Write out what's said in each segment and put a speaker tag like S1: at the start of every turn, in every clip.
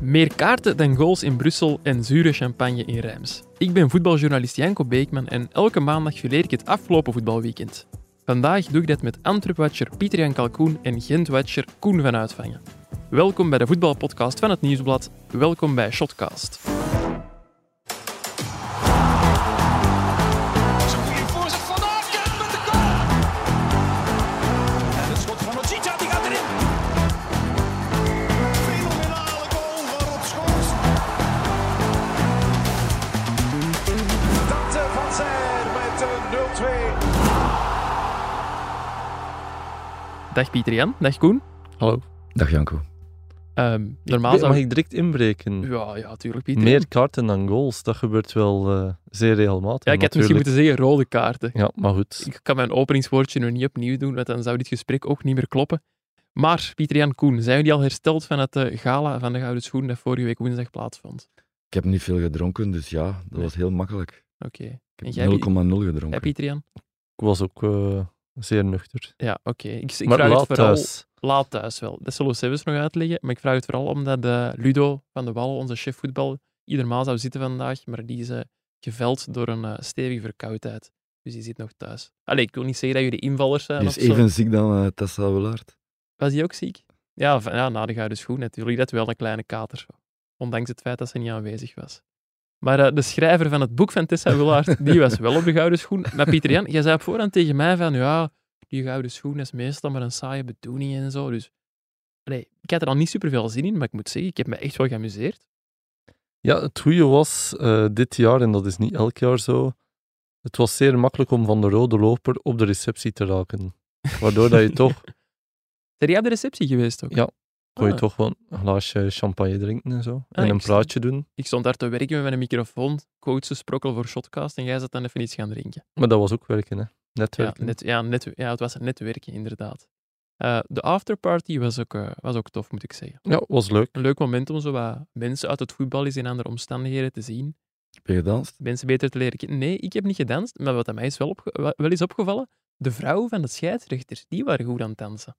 S1: Meer kaarten dan goals in Brussel en zure champagne in Reims. Ik ben voetbaljournalist Janko Beekman en elke maandag fileer ik het afgelopen voetbalweekend. Vandaag doe ik dat met Antwerp-watcher Pieter-Jan Kalkoen en Gent-watcher Koen van Uitvangen. Welkom bij de voetbalpodcast van het Nieuwsblad. Welkom bij Shotcast.
S2: Is een goede voorzet van Aken met de goal. En het schot van Ojita, die gaat erin. Fenomenale goal van Rob Schoors. Dante eh, van Zijl met eh, een 0-2.
S1: Dag Pieter-Jan, dag Koen.
S3: Hallo.
S4: Dag Janko.
S1: Ehm, normaal zou
S3: Mag
S1: ik...
S3: ik direct inbreken?
S1: Ja, ja, tuurlijk Pieter.
S3: Meer kaarten dan goals, dat gebeurt wel eh, zeer regelmatig.
S1: Ja, ik had misschien
S3: natuurlijk.
S1: moeten zeggen rode kaarten.
S3: Ja, maar goed.
S1: Ik kan mijn openingswoordje nu niet opnieuw doen, want dan zou dit gesprek ook niet meer kloppen. Maar, Pieter-Jan Koen, zijn jullie al hersteld van het eh, gala van de Gouden Schoen dat vorige week woensdag plaatsvond?
S4: Ik heb niet veel gedronken, dus ja, dat was heel makkelijk.
S1: Oké.
S4: Ik
S1: En
S4: heb
S1: jij,
S4: 0,0
S1: Pie-
S4: gedronken.
S1: Hè, Pieter-Jan?
S3: Ik was ook eh, zeer nuchter.
S1: Ja, oké. Ik, ik
S3: maar
S1: vraag
S3: laat
S1: het vooral...
S3: thuis.
S1: Laat thuis wel. Dat zullen we zelfs nog uitleggen. Maar ik vraag het vooral omdat eh, Ludo van de Wallen, onze chef voetbal, iedermaal zou zitten vandaag, maar die is eh, geveld door een eh, stevige verkoudheid. Dus die zit nog thuis. Allee, ik wil niet zeggen dat jullie invallers zijn
S4: Die
S1: of
S4: is
S1: zo.
S4: even ziek dan eh, Tessa Willaert.
S1: Was die ook ziek? Ja, van, ja, na de gouden schoen natuurlijk. Dat wel een kleine kater. Ondanks het feit dat ze niet aanwezig was. Maar eh, de schrijver van het boek van Tessa Willaert, die was wel op de gouden schoen. Maar Pieter Jan, jij zei op voorhand tegen mij van, ja, die gouden schoen dat is meestal maar een saaie bedoeling en zo. Dus, allee, ik had er al niet superveel zin in, maar ik moet zeggen, ik heb me echt wel geamuseerd.
S3: Ja, het goede was eh, dit jaar, en dat is niet elk jaar zo, het was zeer makkelijk om van de rode loper op de receptie te raken. Waardoor dat je toch,
S1: Zijn jij op de receptie geweest ook?
S3: Ja. kon je
S1: Ah.
S3: toch wel een glaasje champagne drinken en zo.
S1: Ah,
S3: En een
S1: ik snap.
S3: praatje doen.
S1: Ik stond daar te werken met mijn microfoon, coachen sprokkel voor Shotcast en jij zat dan even iets gaan drinken.
S3: Maar dat was ook werken, hè. Netwerken.
S1: Ja, net, ja, net, ja, het was een netwerken, inderdaad. Eh, de afterparty was ook, eh, was ook tof, moet ik zeggen.
S3: ja, was leuk.
S1: Een leuk moment om zo wat mensen uit het voetbal eens in andere omstandigheden te zien.
S4: Heb je gedanst?
S1: Mensen beter te leren kennen. Nee, ik heb niet gedanst, maar wat aan mij is wel, opge- wa- wel is opgevallen, de vrouwen van de scheidsrechter, die waren goed aan het dansen.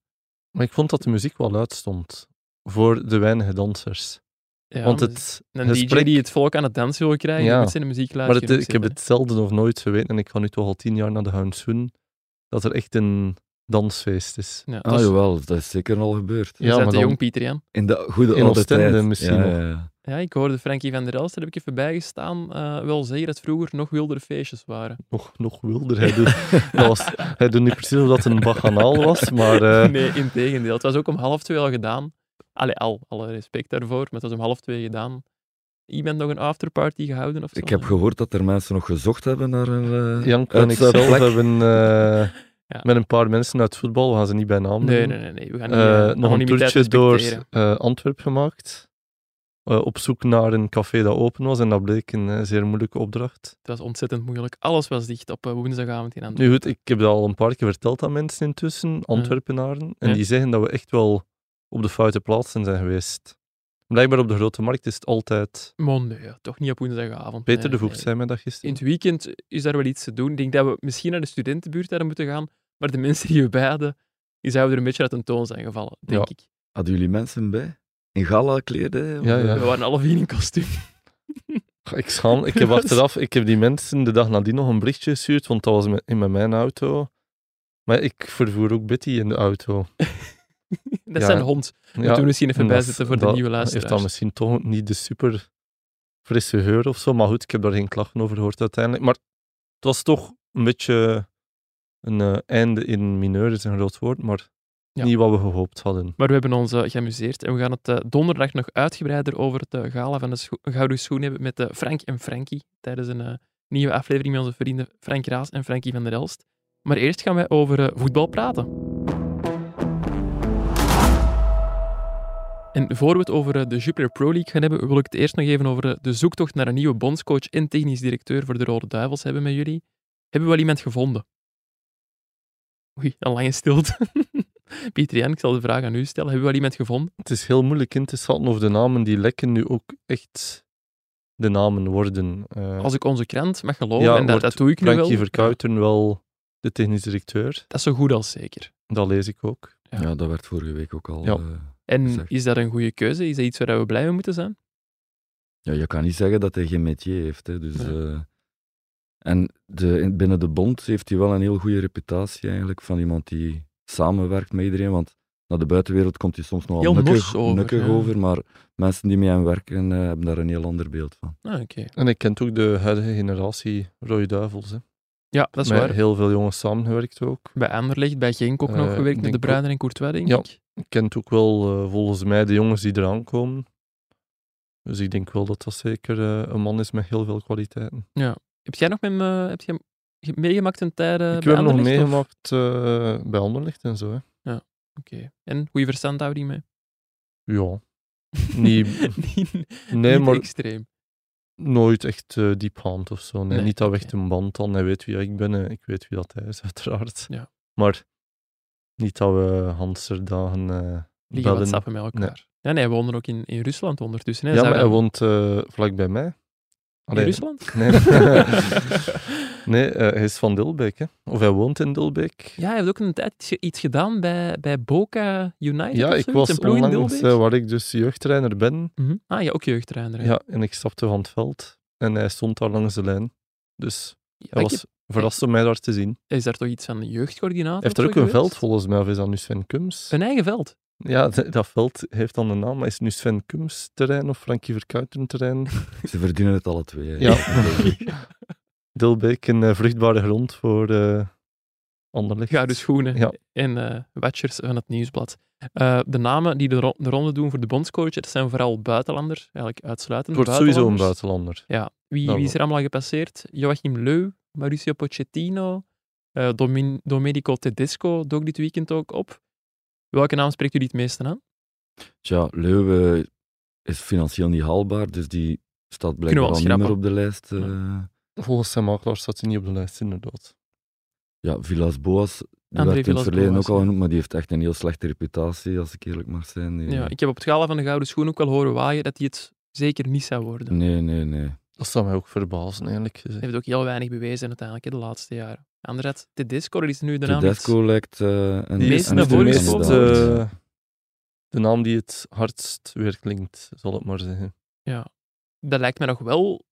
S3: Maar ik vond dat de muziek wel luid stond. Voor de weinige dansers.
S1: Ja,
S3: Want
S1: maar
S3: het
S1: Een DJ
S3: gesprek...
S1: die het volk aan het dansen wil krijgen,
S3: Ja.
S1: die moet zijn muziek laten
S3: maar het- eh, ik heb het zelden of nooit geweten, en ik ga nu toch al tien jaar naar de Hounsoen, dat er echt een dansfeest is.
S1: Ja,
S4: Ah,
S1: dat is,
S4: jawel, dat is zeker al gebeurd.
S1: je bent
S3: maar
S1: te
S3: dan-
S1: jong, Pieter Jan.
S4: In de goede
S3: In
S4: oude
S3: Oostende
S4: tijd.
S3: misschien
S4: Ja,
S3: nog.
S4: ja, ja.
S1: Ja, ik hoorde Frankie van der Elst, daar heb ik even bijgestaan, eh wel zeggen dat vroeger nog wildere feestjes waren.
S3: Nog, nog wilder. Hij doet, dat was, hij doet niet precies of dat een bachanaal was, maar eh,
S1: Nee, in tegendeel. Het was ook om half twee al gedaan. Allee, al, alle respect daarvoor, maar het was om half twee gedaan. Iemand nog een afterparty gehouden of zo?
S4: Ik heb
S1: Nee.
S4: gehoord dat er mensen nog gezocht hebben naar een. eh,
S3: Janko en ik zelf
S4: uitzendplek.
S3: hebben eh,
S1: Ja.
S3: met een paar mensen uit voetbal, we gaan ze niet bij naam
S1: Nee,
S3: noemen,
S1: nee, nee, nee. We gaan
S3: eh,
S1: niet, eh,
S3: nog een
S1: anonimiteit
S3: toertje door
S1: respecteren.
S3: eh, Antwerpen gemaakt. eh, op zoek naar een café dat open was, en dat bleek een eh, zeer moeilijke opdracht.
S1: Het was ontzettend moeilijk. Alles was dicht op eh, woensdagavond in Antwerpen.
S3: Nu goed, ik heb dat al een paar keer verteld aan mensen intussen, Antwerpenaren. En
S1: Ja.
S3: die zeggen dat we echt wel op de foute plaatsen zijn geweest. Blijkbaar op de grote markt is het altijd.
S1: Maar nee, toch niet op woensdagavond.
S3: Peter
S1: nee,
S3: de Voogd
S1: nee.
S3: zei mij dat
S1: In
S3: gisteren.
S1: het weekend is daar wel iets te doen. Ik denk dat we misschien naar de studentenbuurt hadden moeten gaan, maar de mensen die we bij hadden, die zouden er een beetje uit een toon zijn gevallen, denk ik.
S4: Hadden jullie mensen bij? In gala kleden?
S3: Ja, ja.
S1: We waren alle vier in kostuum.
S3: Ik schaam, ik heb
S1: Dat is-
S3: achteraf, ik heb die mensen de dag nadien nog een berichtje gestuurd, want dat was met- in met mijn auto. Maar ik vervoer ook Betty in de auto.
S1: Dat
S3: Ja,
S1: zijn hond. We
S3: Ja,
S1: doen misschien even
S3: en dat-
S1: bijzetten voor de
S3: dat
S1: nieuwe luisteraars.
S3: Heeft dan misschien toch niet de super frisse geur of zo. Maar goed, ik heb daar geen klachten over gehoord uiteindelijk. Maar het was toch een beetje een eh, einde in mineur, is een groot woord, maar
S1: Ja.
S3: niet wat we gehoopt hadden.
S1: Maar we hebben ons eh, geamuseerd en we gaan het eh, donderdag nog uitgebreider over het eh, gala van de scho- Gouden Schoen hebben met eh, Frank en Frankie tijdens een eh, nieuwe aflevering met onze vrienden Frank Raas en Frankie van der Elst. Maar eerst gaan wij over eh, voetbal praten. En voor we het over eh, de Jupiler Pro League gaan hebben, wil ik het eerst nog even over eh, de zoektocht naar een nieuwe bondscoach en technisch directeur voor de Rode Duivels hebben met jullie. Hebben we wel iemand gevonden? Oei, een lange stilte. Pieter Jan, ik zal de vraag aan u stellen. Hebben we wel iemand gevonden?
S3: Het is heel moeilijk in te schatten of de namen die lekken nu ook echt de namen worden. Eh
S1: Als ik onze krant mag geloven,
S3: Ja,
S1: en dat,
S3: wordt
S1: dat doe ik nu wel.
S3: Frankie Verkuijten wel de technisch directeur,
S1: Dat is zo goed als zeker.
S3: dat lees ik ook.
S4: Ja, dat werd vorige week ook al.
S3: Ja.
S4: eh,
S1: En
S4: Exact.
S1: is dat een goede keuze? Is dat iets waar we blij mee moeten zijn?
S4: Ja, je kan niet zeggen dat hij geen métier heeft. Hè. Dus,
S1: Nee.
S4: eh, en de, in- binnen de bond heeft hij wel een heel goede reputatie eigenlijk van iemand die samenwerkt met iedereen. Want naar de buitenwereld komt hij soms nogal
S1: Heel
S4: nukkig,
S1: mors over,
S4: nukkig
S1: ja.
S4: over. Maar mensen die met hem werken eh, hebben daar een heel ander beeld van.
S1: Ah, oké.
S3: En ik kent ook de huidige generatie Rode Duivels. Hè.
S1: Ja, dat is
S3: Met
S1: waar.
S3: heel veel jongens samengewerkt ook.
S1: Bij Anderlecht, bij Genk ook nog
S3: Eh,
S1: gewerkt met
S3: denk
S1: de
S3: ook-
S1: Bruinen en Courtois, denk
S3: Ja.
S1: ik.
S3: Ik kent ook wel eh, volgens mij de jongens die eraan komen. Dus ik denk wel dat dat zeker eh, een man is met heel veel kwaliteiten.
S1: Heb jij nog met hem, eh, heb jij hem ge- meegemaakt een tijd eh,
S3: ik
S1: bij
S3: heb hem nog
S1: Anderlecht, of-
S3: meegemaakt eh, bij Anderlecht en zo. Hè.
S1: Oké. En goede verstandhouding mee?
S3: Ja. Niet,
S1: niet
S3: nee,
S1: niet
S3: maar
S1: extreem.
S3: nooit echt eh, diepgaand of zo. Nee,
S1: Nee,
S3: niet dat we
S1: oké.
S3: echt een band hadden. Hij weet wie ik ben en ik weet wie dat hij is, uiteraard.
S1: Ja.
S3: Maar niet dat we Hanserdagen dagen eh
S1: Liggen wat
S3: bellen.
S1: sappen met elkaar.
S3: Nee.
S1: Ja, nee, hij woonde ook in, in Rusland ondertussen. Hè.
S3: Ja,
S1: Zou
S3: maar hij
S1: dat-
S3: woont eh, vlakbij mij.
S1: in
S3: Allee,
S1: Rusland?
S3: Nee, nee eh, hij is van Dilbeek. Hè. Of hij woont in Dilbeek.
S1: Ja, hij heeft ook een tijd iets, ge- iets gedaan bij, bij Boca United.
S3: Ja,
S1: of
S3: ik
S1: zoiets,
S3: was
S1: een ploeg in
S3: onlangs,
S1: Dilbeek.
S3: eh, waar ik dus jeugdtrainer ben,
S1: Mhm. Ah ja, ook jeugdtrainer. hè.
S3: ja, en ik stapte van het veld en hij stond daar langs de lijn. Dus
S1: Maar
S3: hij
S1: ik
S3: was verrast om mij daar te zien.
S1: heb- is daar toch iets aan de jeugdcoördinator?
S3: Hij heeft
S1: of
S3: er
S1: zo
S3: ook een
S1: geweest?
S3: veld volgens mij, of is dat nu Sven Kums?
S1: Een eigen veld.
S3: Ja, d- dat veld heeft dan een naam, maar is het nu Sven Kums terrein of Frankie Verkuiten terrein?
S4: Ze verdienen het alle twee. hè.
S3: Ja. Dilbeek, een eh, vruchtbare grond voor eh Anderlecht.
S1: Gouden schoenen
S3: Ja.
S1: en eh watchers van het nieuwsblad. Eh, de namen die de, ro- de ronde doen voor de bondscoach, dat zijn vooral buitenlanders. Eigenlijk uitsluitend
S3: het wordt sowieso een Nou,
S1: buitenlanders.
S3: buitenlander.
S1: Ja, wie,
S3: Dat
S1: wie is er allemaal gepasseerd? Joachim Leu, Mauricio Pochettino, eh, Domin- Domenico Tedesco dook dit weekend ook op. Welke naam spreekt jullie het meeste aan?
S4: Tja, Leuwe is financieel niet haalbaar, dus die staat blijkbaar al niet
S1: schrappen.
S4: meer op de lijst. eh.
S3: Volgens zijn makelaar staat hij niet op de lijst, inderdaad.
S4: Ja, Villas Boas, die
S1: André
S4: werd in het verleden
S1: Villas-Boas,
S4: ook al
S1: ja.
S4: genoemd, maar die heeft echt een heel slechte reputatie, als ik eerlijk mag zijn. Die-
S1: Ja, ik heb op het gala van de Gouden Schoen ook wel horen waaien dat hij het zeker niet zou worden.
S4: Nee, nee, nee.
S3: Dat zou mij ook verbazen, eigenlijk gezegd.
S1: Hij heeft ook heel weinig bewezen uiteindelijk hè, de laatste jaren. Anderzijds, Tedesco dat is nu de naam die-
S4: Tedesco lijkt eh, een
S1: Die
S3: Die is
S1: meest
S4: een
S1: naar
S3: de
S1: voren
S3: meest,
S1: geschopt.
S4: kandidaat.
S3: eh, de naam die het hardst weer klinkt, zal het maar zeggen.
S1: dat lijkt mij nog wel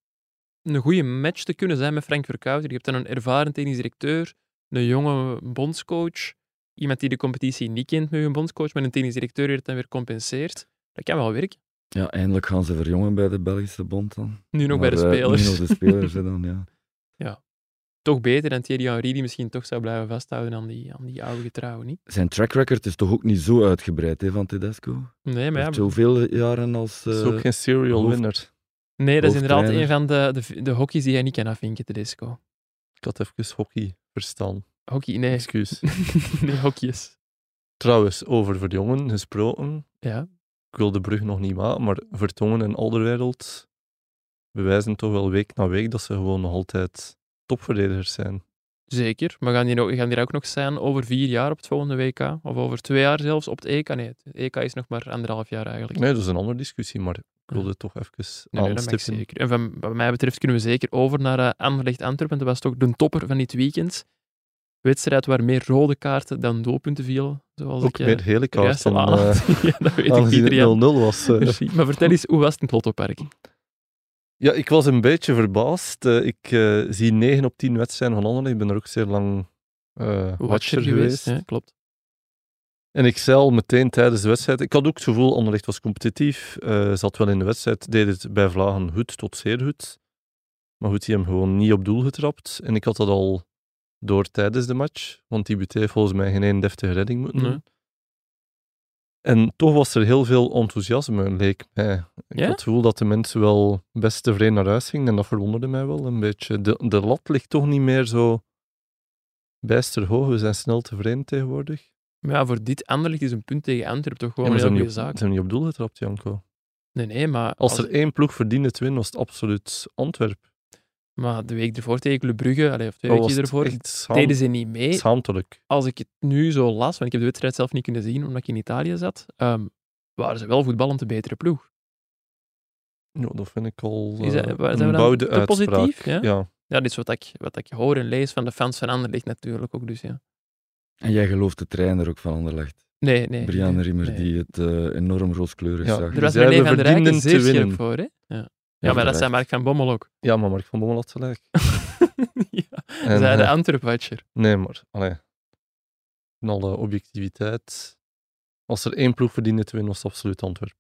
S1: een goede match te kunnen zijn met Frank Verkouter. Je hebt dan een ervaren technisch directeur, een jonge bondscoach, iemand die de competitie niet kent met een bondscoach, maar een technisch directeur die het dan weer compenseert. Dat kan wel werken.
S4: Ja, eindelijk gaan ze verjongen bij de Belgische bond dan.
S1: Nu nog bij
S4: Maar,
S1: de
S4: eh,
S1: spelers.
S4: Nu nog de spelers hè, dan, ja.
S1: Toch beter dan Thierry Henry, die misschien toch zou blijven vasthouden aan die, aan die oude getrouwen, niet?
S4: Zijn track record is toch ook niet zo uitgebreid hè, van Tedesco?
S1: Nee,
S4: Hij
S1: maar
S4: heeft
S1: ja,
S4: zoveel jaren als...
S3: Het is
S4: eh,
S3: ook geen serial
S4: hoofd-
S3: winner.
S1: nee, dat is inderdaad een
S4: hoofdtrainer.
S1: van de, de, de hokjes die jij niet kan afvinken, Tedesco.
S3: Ik had even hockey verstaan.
S1: Hockey, nee.
S3: Excuus.
S1: nee, hokjes.
S3: Trouwens, over Verjongen gesproken.
S1: Ja.
S3: Ik wil de brug nog niet maken, maar Vertongen en Alderwereld bewijzen toch wel week na week dat ze gewoon nog altijd topverdedigers zijn.
S1: Zeker, maar gaan die, ook, gaan die er ook nog zijn over vier jaar op het volgende WK? Of over twee jaar zelfs op het EK? Nee, het EK is nog maar anderhalf jaar eigenlijk.
S3: Nee, Ah, dat is een andere discussie, maar ik wilde
S1: Ja.
S3: het toch even
S1: Nee, nee, dat mag
S3: aanstippen.
S1: zeker. En van, wat mij betreft kunnen we zeker over naar eh, Anderlecht Antwerpen. Dat was toch de topper van dit weekend. Wedstrijd waar meer rode kaarten dan doelpunten vielen. Zoals
S3: Ook
S1: ik eh,
S3: meer hele
S1: er juist
S3: kaarten.
S1: al
S3: eh,
S1: aanhaal. ja, dat weet ik
S3: aangezien
S1: niet, Rian.
S3: het 0-0 was. eh.
S1: Precies. Maar vertel eens, hoe was het in het Lottopark?
S3: Ja, ik was een beetje verbaasd. Eh, ik eh, zie 9 op 10 wedstrijden van anderen. Ik ben er ook zeer lang eh, watcher geweest.
S1: Ja, klopt.
S3: En ik zei al meteen tijdens de wedstrijd, ik had ook het gevoel, Anderlecht was competitief, eh, zat wel in de wedstrijd, deed het bij Vlagen goed tot zeer goed. Maar goed, die hem gewoon niet op doel getrapt. En ik had dat al door tijdens de match, want die Buté heeft volgens mij geen één deftige redding moeten
S1: Nee.
S3: doen. En toch was er heel veel enthousiasme, leek mij. Ik
S1: Ja?
S3: had het gevoel dat de mensen wel best tevreden naar huis gingen en dat verwonderde mij wel een beetje. De, de lat ligt toch niet meer zo bijster hoog, we zijn snel tevreden tegenwoordig.
S1: Maar ja, voor dit Anderlecht is een punt tegen Antwerpen toch
S3: Ja,
S1: gewoon
S3: maar
S1: een
S3: ze
S1: heel
S3: hebben
S1: goede
S3: niet
S1: zaak.
S3: op- ze hebben niet op doel getrapt, Janko.
S1: Nee, nee, maar...
S3: Als er één ploeg verdiende te winnen, was het absoluut Antwerp.
S1: Maar de week ervoor tegen Club Brugge, allee, of twee
S3: Dat Oh, was
S1: weken ervoor,
S3: echt schaam-
S1: deden ze niet mee.
S3: schaamtelijk.
S1: Als ik het nu zo las, want ik heb de wedstrijd zelf niet kunnen zien omdat ik in Italië zat, ehm, waren ze wel voetballend de betere ploeg.
S3: Ja, dat vind ik al
S1: Is dat-
S3: eh,
S1: waar- zijn we
S3: een
S1: dan
S3: bouwde
S1: te
S3: uitspraak.
S1: positief, ja?
S3: Ja?
S1: Ja, dit is wat ik, wat ik hoor en lees van de fans van Anderlecht natuurlijk ook. Dus ja.
S4: En jij gelooft de trainer ook van Anderlecht.
S1: Nee, nee.
S4: Brian
S1: nee,
S4: Rimmer,
S1: nee.
S4: die het eh, enorm rooskleurig
S3: Ja.
S4: zag.
S1: Er was
S3: Zij
S1: meneer Van der
S3: verdienden
S1: Rijken
S3: te
S1: zeer scherp
S3: winnen.
S1: voor, hè? Ja, ja maar dat
S4: terecht.
S1: zijn Mark van Bommel ook.
S3: Ja, maar Mark van Bommel had gelijk.
S1: ja,
S3: En,
S1: zij de
S3: eh,
S1: Antwerp-watcher.
S3: nee, maar allee, in alle objectiviteit. Als er één ploeg verdiende te winnen, was het absoluut Antwerpen.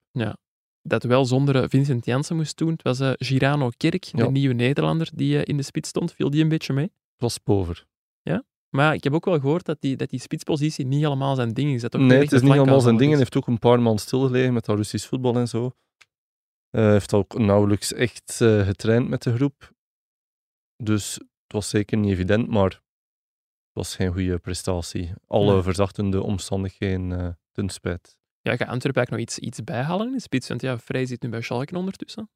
S1: Dat wel zonder eh, Vincent Janssen moest doen. Het was eh, Girano Kerk,
S3: Ja.
S1: de nieuwe Nederlander, die eh, in de spits stond. Viel die een beetje mee?
S3: Het was pover.
S1: Maar ik heb ook wel gehoord dat die, dat die spitspositie niet helemaal zijn ding is. Dat toch
S3: Nee,
S1: echt
S3: het
S1: een
S3: is niet allemaal
S1: flankaanvaller
S3: zijn ding. Hij
S1: is.
S3: heeft ook een paar maanden stilgelegen met dat Russisch voetbal en zo. Eh, Hij heeft ook nauwelijks echt eh, getraind met de groep. Dus het was zeker niet evident, maar het was geen goede prestatie. Alle
S1: Nee.
S3: verzachtende omstandigheden eh, ten spijt.
S1: Ja, gaat Antwerpen eigenlijk nog iets, iets bijhalen in de spits? Want ja, Vrij zit nu bij Schalke ondertussen.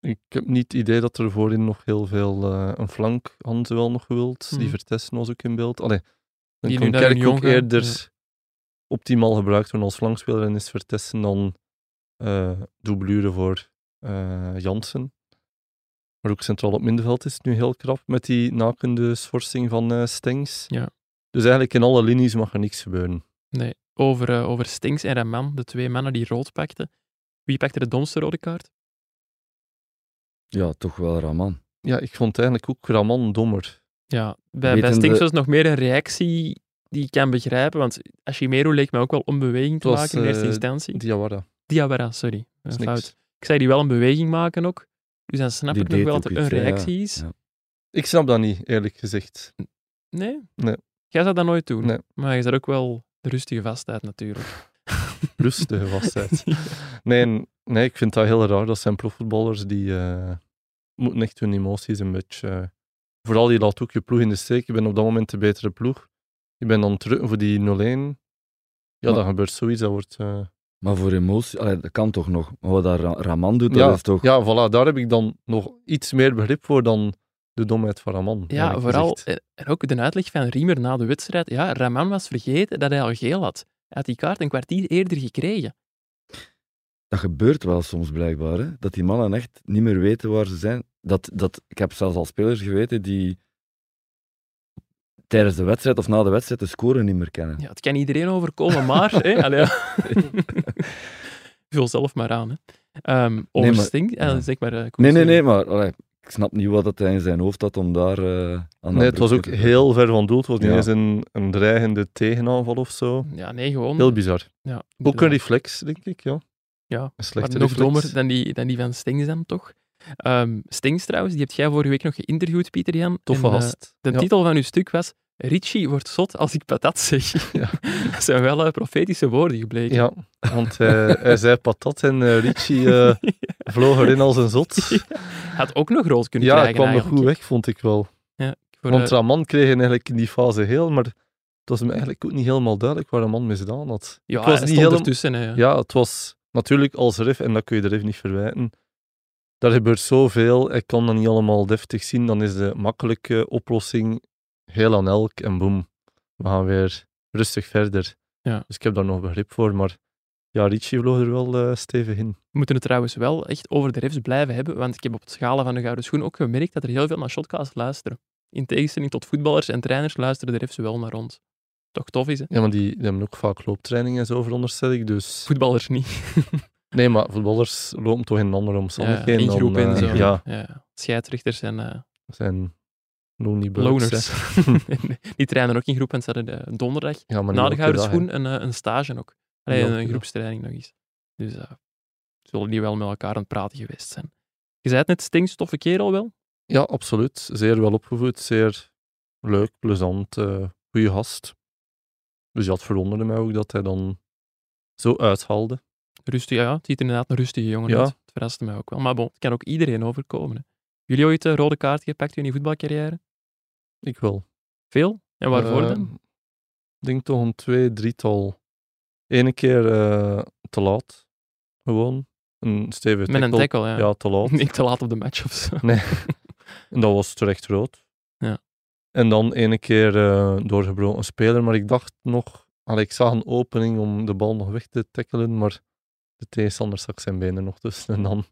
S3: Ik heb niet het idee dat er voorin nog heel veel... eh, een flank hadden ze wel nog gewild.
S1: Mhm.
S3: Die Vertessen was ook in beeld. Allee,
S1: Die
S3: dan
S1: nu
S3: kan
S1: naar
S3: Kerk
S1: Union
S3: ook
S1: gaan,
S3: eerder
S1: ja.
S3: optimaal gebruikt worden als flankspeler en is Vertessen dan eh doublure voor eh, Jansen. Maar ook centraal op middenveld is het nu heel krap met die nakende schorsing van eh Stengs.
S1: Ja.
S3: Dus eigenlijk in alle linies mag er niks gebeuren.
S1: Nee, over, eh, over Stinks en Raman, de twee mannen die rood pakten. Wie pakte de domste rode kaart?
S4: Ja, toch wel Raman.
S3: Ja, ik vond eigenlijk ook Raman dommer.
S1: Ja, bij, bij
S4: Wetende-
S1: Stinks was het nog meer een reactie die ik kan begrijpen. Want Ashimero leek mij ook wel onbeweging te
S3: Het was,
S1: maken in eerste
S3: eh,
S1: instantie.
S3: Diawara.
S1: Diawara, sorry.
S3: Dat
S1: eh,
S3: is
S1: Fout.
S3: niks.
S1: Ik zei die wel een beweging maken ook. Dus dan snap
S4: Die
S1: ik nog
S4: deed
S1: wel
S4: ook
S1: dat er
S4: iets,
S1: een
S4: hè, ja.
S1: reactie is.
S4: Ja.
S3: Ik snap dat niet, eerlijk gezegd.
S1: Nee?
S3: Nee.
S1: Jij zou dat nooit doen.
S3: Nee.
S1: Maar je zat ook wel de rustige vastheid natuurlijk.
S3: Rustige vastheid. Nee, nee, ik vind dat heel raar. Dat zijn profvoetballers die eh, moeten echt hun emoties een beetje... eh, vooral die laat ook je ploeg in de steek. Je bent op dat moment de betere ploeg. Je bent dan terug voor die 0-1. Ja, dan
S4: Maar-
S3: gebeurt zoiets. Dat wordt, eh,
S4: Maar voor emotie, allee, dat kan toch nog. Maar wat dat Ra- Raman doet, dat is toch...
S3: Ja, voilà. Daar heb ik dan nog iets meer begrip voor dan de domheid van Raman.
S1: Ja,
S3: eerlijk
S1: vooral.
S3: gezegd.
S1: eh, En ook de uitleg van Riemer na de wedstrijd. Ja, Raman was vergeten dat hij al geel had. Hij had die kaart een kwartier eerder gekregen.
S4: Dat gebeurt wel soms blijkbaar, hè? dat die mannen echt niet meer weten waar ze zijn. Dat, dat, ik heb zelfs al spelers geweten die tijdens de wedstrijd of na de wedstrijd de score niet meer kennen.
S1: Ja, het kan iedereen overkomen, maar... hè, allee, ja. Vul zelf maar aan. Hè. Ehm over
S4: maar-
S1: Sting, eh,
S4: ja.
S1: zeg maar... eh, Koen,
S4: nee, nee,
S1: sorry.
S4: nee, maar allee, ik snap niet wat dat hij in zijn hoofd had om daar eh, aan dat
S3: Nee, het was ook
S4: brugje te-
S3: heel ver van doel. Het was niet
S4: Ja.
S3: eens een, een dreigende tegenaanval of zo.
S1: Ja, nee, gewoon...
S3: Heel bizar.
S1: ja,
S3: Ook een
S1: inderdaad.
S3: reflex, denk ik, ja.
S1: Ja,
S3: Een
S1: Maar
S3: slechte
S1: nog
S3: reflex.
S1: dommer dan die, dan die van Stings dan, toch? Ehm Stings trouwens, die hebt jij vorige week nog geïnterviewd, Pieter Jan.
S3: Toffe
S1: En, eh,
S3: gast.
S1: de
S3: Ja.
S1: titel van uw stuk was Richie wordt zot als ik patat zeg.
S3: Ja.
S1: Dat zijn wel eh, profetische woorden gebleken.
S3: Ja, want hij, hij zei patat en eh, Richie eh, vloog erin als een zot.
S1: Had ook nog rood kunnen
S3: Ja, hij
S1: krijgen
S3: kwam nog
S1: eigenlijk.
S3: goed weg, vond ik wel.
S1: Voor,
S3: Want
S1: eh,
S3: Raman kreeg hij eigenlijk in die fase heel, maar het was hem eigenlijk ook niet helemaal duidelijk waar Raman misdaan had.
S1: ja,
S3: het
S1: hij
S3: was niet
S1: stond
S3: helemaal-
S1: ertussen. hè, ja.
S3: Ja, het was natuurlijk als ref, en dat kun je de ref niet verwijten. Daar gebeurt zoveel, hij kan dat niet allemaal deftig zien. Dan is de makkelijke oplossing heel aan elk en boem. We gaan weer rustig verder.
S1: Ja.
S3: Dus ik heb daar nog begrip voor, maar ja, Richie vloog er wel eh, stevig in.
S1: We moeten het trouwens wel echt over de refs blijven hebben, want ik heb op het schalen van de Gouden Schoen ook gemerkt dat er heel veel naar shotcast luisteren. In tegenstelling tot voetballers en trainers luisteren de refs wel naar ons. Toch tof is, hè?
S3: Ja, maar die, die hebben ook vaak looptraining en zo, veronderstel ik. Dus...
S1: Voetballers niet.
S3: Nee, maar voetballers lopen toch in andere omstandigheden. dan,
S1: ingeroepen en
S3: eh,
S1: zo.
S3: Ja,
S1: Ja, scheidsrechters en eh,
S3: zijn lonely birds.
S1: loners.
S3: hè.
S1: die trainen ook in groep en ze hadden eh, donderdag
S3: Ja, maar
S1: na
S3: niet
S1: de
S3: elke
S1: gouden
S3: dag, hè.
S1: schoen een, eh, een stage ook. Allee,
S3: Ja,
S1: een,
S3: oké, ja.
S1: groepstraining nog eens. Dus eh zullen die wel met elkaar aan het praten geweest zijn. Je zei het net, Stings, toffe kerel wel.
S3: Ja, absoluut. Zeer wel opgevoed, zeer leuk, plezant, eh goede gast. Dus dat verwonderde mij ook dat hij dan zo uithaalde.
S1: Rustig, ja, het ziet er inderdaad een rustige jongen
S3: Ja.
S1: uit. Het verraste mij ook wel. Maar bon, het kan ook iedereen overkomen. Hè. Jullie ooit een rode kaart gepakt in je voetbalcarrière?
S3: Ik wel.
S1: Veel? En waarvoor
S3: Eh,
S1: dan?
S3: Ik denk toch een twee, drietal. Ene keer eh, te laat, gewoon. Een stevige
S1: Met een tackle, ja.
S3: Ja, te laat.
S1: Niet te laat op de match of zo.
S3: En dat was terecht rood.
S1: Ja.
S3: En dan ene keer eh, doorgebroken speler. Maar ik dacht nog... Allee, ik zag een opening om de bal nog weg te tackelen, maar de tegenstander stak zijn benen nog tussen. En dan...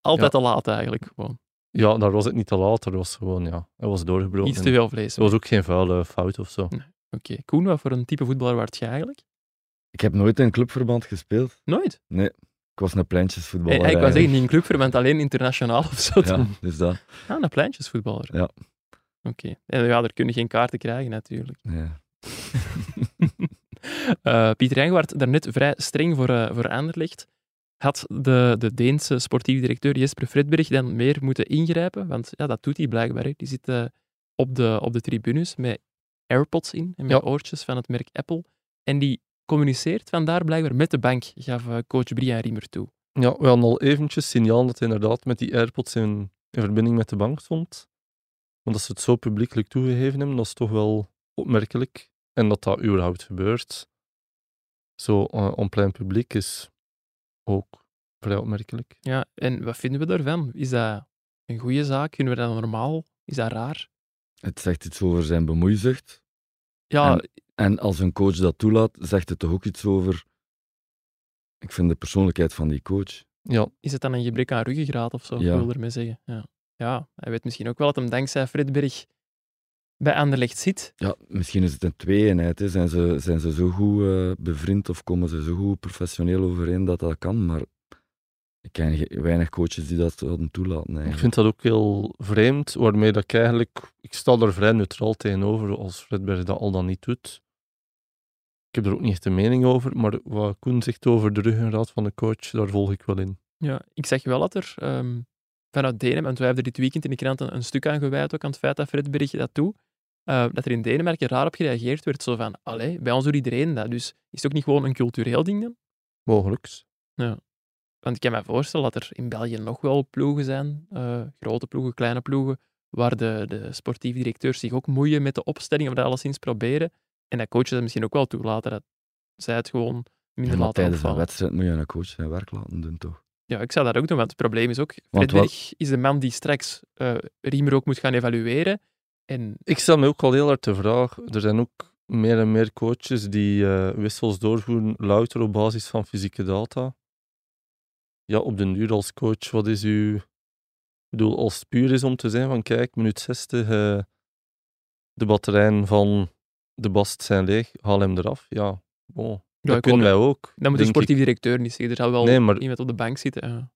S1: Altijd te laat eigenlijk. Gewoon.
S3: Ja, daar was het niet te laat. Er was gewoon, ja... Hij was doorgebroken.
S1: Iets te veel vlees.
S3: Er was ook geen vuile fout of zo.
S1: Nee. Oké. Koen, wat voor een type voetballer waart jij eigenlijk?
S4: Ik heb nooit in clubverband gespeeld.
S1: Nooit.
S4: Ik was een
S1: Eh,
S4: pleintjesvoetballer.
S1: eh, ik wou zeggen,
S4: eigenlijk.
S1: niet in clubverband, alleen internationaal of zo.
S4: Ja, dus dat.
S1: Ah, een pleintjesvoetballer.
S4: Ja.
S1: Oké. En Ja, daar kun je geen kaarten krijgen natuurlijk.
S4: Ja.
S1: Eh, Pieter Engewaard, daarnet vrij streng voor, eh voor Anderlecht. Had de, de Deense sportief directeur Jesper Fredberg dan meer moeten ingrijpen? Want ja, dat doet hij blijkbaar. hè. Die zit eh, op, de, op de tribunes met AirPods in en met oortjes van het merk Apple. En die communiceert vandaar blijkbaar met de bank, gaf eh, coach Brian Riemer toe.
S3: Ja, we hadden al eventjes signaal dat hij inderdaad met die AirPods in, in verbinding met de bank stond. Want als ze het zo publiekelijk toegegeven hebben, dat is toch wel opmerkelijk. En dat dat überhaupt gebeurt, zo eh, on plein publiek, is ook vrij opmerkelijk.
S1: Ja, en wat vinden we daarvan? Is dat een goede zaak? Kunnen we dat normaal? Is dat raar?
S4: Het zegt iets over zijn bemoeizucht.
S1: Ja,
S4: En- En als een coach dat toelaat, zegt het toch ook iets over. Ik vind de persoonlijkheid van die coach.
S3: Ja,
S1: is het dan een gebrek aan ruggengraat of zo,
S4: Ja.
S1: wil ermee zeggen. Ja. ja, hij weet misschien ook wel dat hem dankzij Fredberg bij Anderlecht zit.
S4: Ja, misschien is het een twee-eenheid. hè. Zijn ze, zijn ze zo goed eh, bevriend of komen ze zo goed professioneel overeen dat dat kan? Maar ik ken ge- weinig coaches die dat zouden toelaten.
S3: ik
S4: Eigenlijk.
S3: vind dat ook heel vreemd, waarmee dat ik eigenlijk... Ik sta er vrij neutraal tegenover als Fredberg dat al dan niet doet. Ik heb er ook niet echt een mening over, maar wat Koen zegt over de ruggengraat van de coach, daar volg ik wel in.
S1: Ja, ik zeg wel dat er ehm, vanuit Denemarken, want wij hebben er dit weekend in de krant een, een stuk aan gewijd, ook aan het feit dat Fredberg dat doet, eh, dat er in Denemarken raar op gereageerd werd. Zo van, allee, bij ons doet iedereen dat. Dus is het ook niet gewoon een cultureel ding dan?
S3: Mogelijks.
S1: Want ik kan me voorstellen dat er in België nog wel ploegen zijn, eh, grote ploegen, kleine ploegen, waar de, de sportief directeurs zich ook moeien met de opstelling of dat alleszins proberen. En dat coaches dat misschien ook wel toelaten, dat zij het gewoon
S4: Ja,
S1: minder
S4: maar
S1: laten
S4: tijdens een
S1: opvallen.
S4: wedstrijd moet je een coach zijn werk laten doen, toch?
S1: Ja, ik zou dat ook doen, want het probleem is ook,
S4: Want wat-
S1: Fredberg is de man die straks eh, Riemer ook moet gaan evalueren. En
S3: Ik stel me ook al heel hard de vraag. Er zijn ook meer en meer coaches die eh, wissels doorvoeren louter op basis van fysieke data. Ja, op den duur als coach, wat is uw... Ik bedoel, als het puur is om te zijn van kijk, minuut 60, eh, de batterijen van de Bast zijn leeg, haal hem eraf. Ja, bon. dat
S1: ik
S3: kunnen wij ook.
S1: dan moet de
S3: denk ik.
S1: sportief directeur niet zeggen, er zal wel
S3: Nee, maar-
S1: iemand op de bank zitten. ja.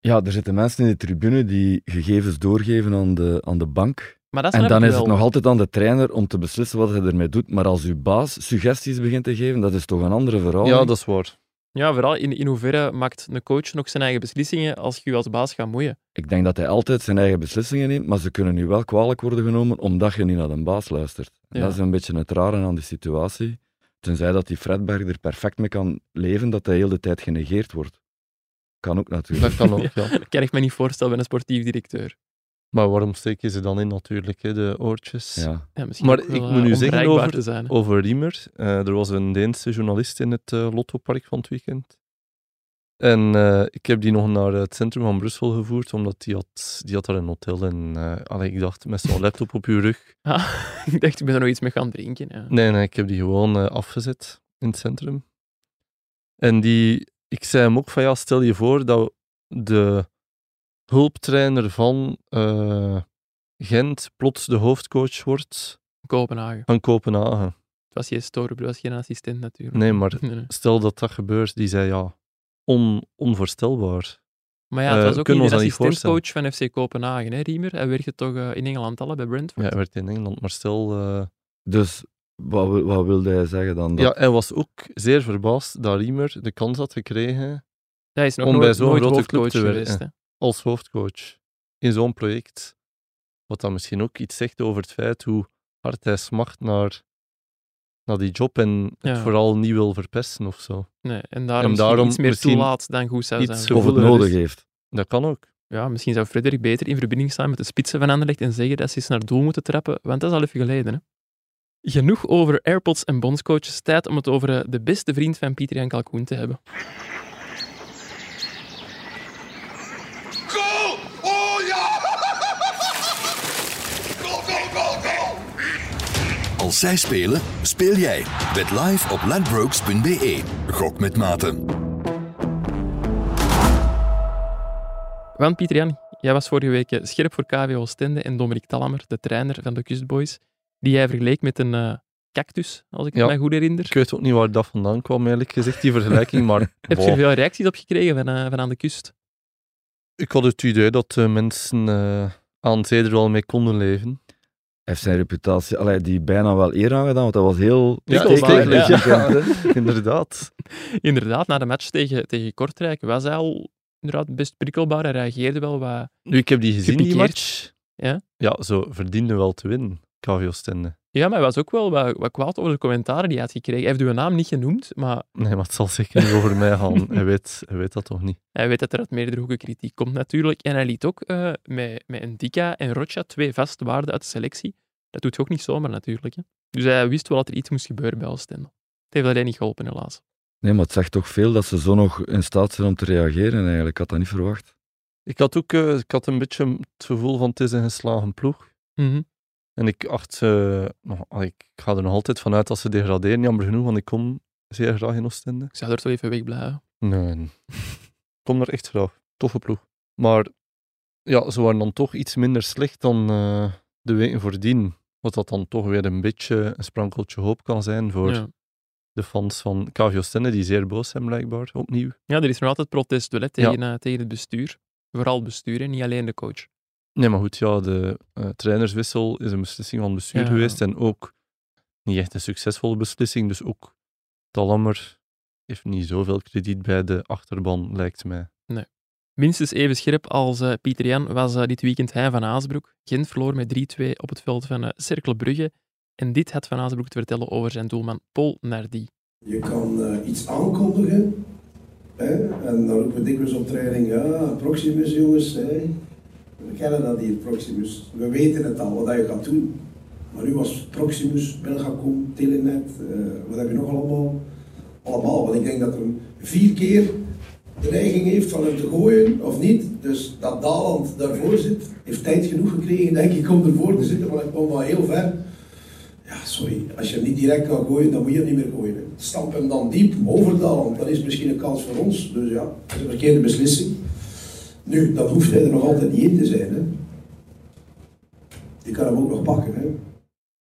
S4: Ja, er zitten mensen in de tribune die gegevens doorgeven aan de, aan de bank.
S1: Maar dat
S4: En
S1: snap
S4: dan
S1: ik
S4: is het
S1: wel.
S4: nog altijd aan de trainer om te beslissen wat hij ermee doet. Maar als uw baas suggesties begint te geven, dat is toch een andere verhaal.
S3: Ja, dat is waar.
S1: Ja, vooral in, in hoeverre maakt een coach nog zijn eigen beslissingen als je je als baas gaat moeien.
S4: Ik denk dat hij altijd zijn eigen beslissingen neemt, maar ze kunnen nu wel kwalijk worden genomen omdat je niet naar een baas luistert. En
S1: Ja.
S4: Dat is een beetje het rare aan die situatie. Tenzij dat die Fredberg er perfect mee kan leven, dat hij heel de tijd genegeerd wordt. Kan ook natuurlijk.
S3: Dat kan ook, ja.
S1: Dat kan ik me niet voorstellen bij een sportief directeur.
S3: Maar waarom steken ze dan in natuurlijk, hè, de oortjes?
S4: Ja.
S1: Ja, misschien
S3: Maar
S1: ook wel,
S3: ik
S1: eh,
S3: moet nu zeggen
S1: onbereikbaar
S3: over-
S1: te zijn. hè.
S3: over Riemer. Eh, er was een Deense journalist in het eh, Lottopark van het weekend. En eh, ik heb die nog naar het centrum van Brussel gevoerd, omdat die had, die had daar een hotel. En eh, allee, ik dacht, met zo'n laptop op uw rug.
S1: Ah, ik dacht, ik ben er nog iets mee gaan drinken. Ja.
S3: Nee, nee, ik heb die gewoon eh, afgezet in het centrum. En die, ik zei hem ook van, ja, stel je voor dat de hulptrainer van eh, Gent plots de hoofdcoach wordt
S1: Kopenhagen.
S3: van Kopenhagen.
S1: Het was geen storer, het was geen assistent natuurlijk.
S3: Nee, maar
S1: Nee, nee.
S3: stel dat dat gebeurt, die zei ja, on, onvoorstelbaar.
S1: Maar ja, het
S3: Eh,
S1: was ook
S3: kunnen
S1: niet
S3: we
S1: de
S3: ons dat niet
S1: assistentcoach van FC Kopenhagen, hè, Riemer. Hij werkte toch eh, in Engeland al, hè, bij
S3: Ja,
S1: Brentford.
S3: hij werd in Engeland, maar stel... eh,
S4: Dus wat, wil- wat wilde hij zeggen dan? Dat
S3: ja, hij was ook zeer verbaasd dat Riemer de kans had gekregen
S1: Hij is nog
S3: Om bij
S1: nooit,
S3: zo'n
S1: nooit
S3: grote
S1: hoofdcoach
S3: club te werken.
S1: geweest. Hè.
S3: als hoofdcoach in zo'n project. Wat dan misschien ook iets zegt over het feit hoe hard hij smacht naar, naar die job en het
S1: Ja.
S3: vooral niet wil verpesten of zo.
S1: Nee, en daarom,
S3: En
S1: misschien
S3: daarom
S1: iets meer
S3: misschien
S1: toelaat dan goed zou
S3: iets
S1: zijn.
S3: zo-
S4: of het
S3: gevoel er
S4: nodig
S3: is.
S4: heeft.
S3: Dat kan ook.
S1: Ja, misschien zou Frederik beter in verbinding staan met de spitsen van Anderlecht en zeggen dat ze eens naar doel moeten trappen, want dat is al even geleden. Hè? Genoeg over AirPods en bondscoaches. Tijd om het over eh, de beste vriend van Pieter Jan Kalkoen te hebben.
S2: Goal! Oh ja! Goal, goal, goal, goal!
S5: Als zij spelen, speel jij. Bet live op ladbrokes.be. Gok met maten.
S1: Want Pieter Jan, jij was vorige week eh, scherp voor KV Oostende en Dominic Talhammer, de trainer van de Kustboys, die jij vergeleek met een eh, cactus, als ik
S3: Ja.
S1: het mij goed herinner.
S3: Ik weet ook niet waar dat vandaan kwam, eerlijk gezegd, die vergelijking. Maar
S1: Heb je
S3: boah,
S1: er veel reacties op gekregen van, eh, van aan de kust?
S3: ik had het idee dat eh, mensen eh, aan zee er wel mee konden leven.
S4: heeft zijn reputatie allee, die bijna wel eer aan gedaan, want dat was heel
S3: Ja,
S4: stekelbaar.
S3: ja. Inderdaad.
S1: Inderdaad, na de match tegen, tegen Kortrijk was hij al inderdaad best prikkelbaar. Hij reageerde wel wat
S3: Nu, ik heb die gezien, die
S1: Gepikeerd.
S3: match.
S1: Ja.
S3: Ja, zo verdiende wel te winnen, KV Oostende.
S1: Ja, maar hij was ook wel wat, wat kwaad over de commentaren die hij had gekregen. Hij heeft uw naam niet genoemd, maar
S3: Nee, maar het zal zeker niet over mij gaan. Hij weet, hij weet dat toch niet.
S1: hij weet dat er uit meerdere hoeken kritiek komt natuurlijk. En hij liet ook eh, met, met Ndika en Rocha twee vaste waarden uit de selectie. Dat doet hij ook niet zomaar natuurlijk. Hè. Dus hij wist wel dat er iets moest gebeuren bij Oostende. Het heeft alleen niet geholpen, helaas.
S4: Nee, maar het zegt toch veel dat ze zo nog in staat zijn om te reageren eigenlijk. Ik had dat niet verwacht.
S3: Ik had ook eh, ik had een beetje het gevoel van het is een geslagen ploeg.
S1: Mhm.
S3: En ik acht ze, nog- ah, ik ga er nog altijd vanuit dat ze degraderen, jammer genoeg, want ik kom zeer graag in Oostende.
S1: Ik zou er toch even weg blijven.
S3: Nee. Ik kom daar echt graag. Toffe ploeg. Maar ja, ze waren dan toch iets minder slecht dan eh, de weken voordien. Wat dat dan toch weer een beetje een sprankeltje hoop kan zijn voor
S1: Ja.
S3: de fans van KV Oostende, die zeer boos zijn blijkbaar, opnieuw.
S1: ja, er is nog altijd protest wel, hè,
S3: Ja.
S1: tegen, eh, tegen het bestuur. Vooral het bestuur, hè, niet alleen de coach.
S3: Nee, maar goed, ja, de eh, trainerswissel is een beslissing van het bestuur
S1: Ja.
S3: geweest en ook niet echt een succesvolle beslissing. Dus ook Talammer heeft niet zoveel krediet bij de achterban, lijkt mij.
S1: Minstens even scherp als eh, Pieter Jan was eh, dit weekend hij van Haasbroek. Gent verloor met 3-2 op het veld van eh Cercle Brugge. En dit had Van Haasbroek te vertellen over zijn doelman Paul Nardi.
S6: Je kan eh, iets aankondigen. Hè? En dan roepen we dikwijls op training, ja, Proximus jongens. Hè? We kennen dat hier, Proximus. We weten het al, wat dat je gaat doen. Maar nu was Proximus, Belgacom, Telenet, eh, wat heb je nog allemaal? Allemaal, want ik denk dat er vier keer dreiging heeft van hem te gooien, of niet. Dus dat Daland daarvoor zit, heeft tijd genoeg gekregen, denk ik, om ervoor te zitten, want hij kwam wel heel ver. Ja, sorry, als je hem niet direct kan gooien, dan moet je hem niet meer gooien. hè. Stamp hem dan diep over Daland, dat is misschien een kans voor ons. Dus ja, dat is een verkeerde beslissing. Nu, dat hoeft hij er nog altijd niet in te zijn. Hè. Je kan hem ook nog pakken. Hè.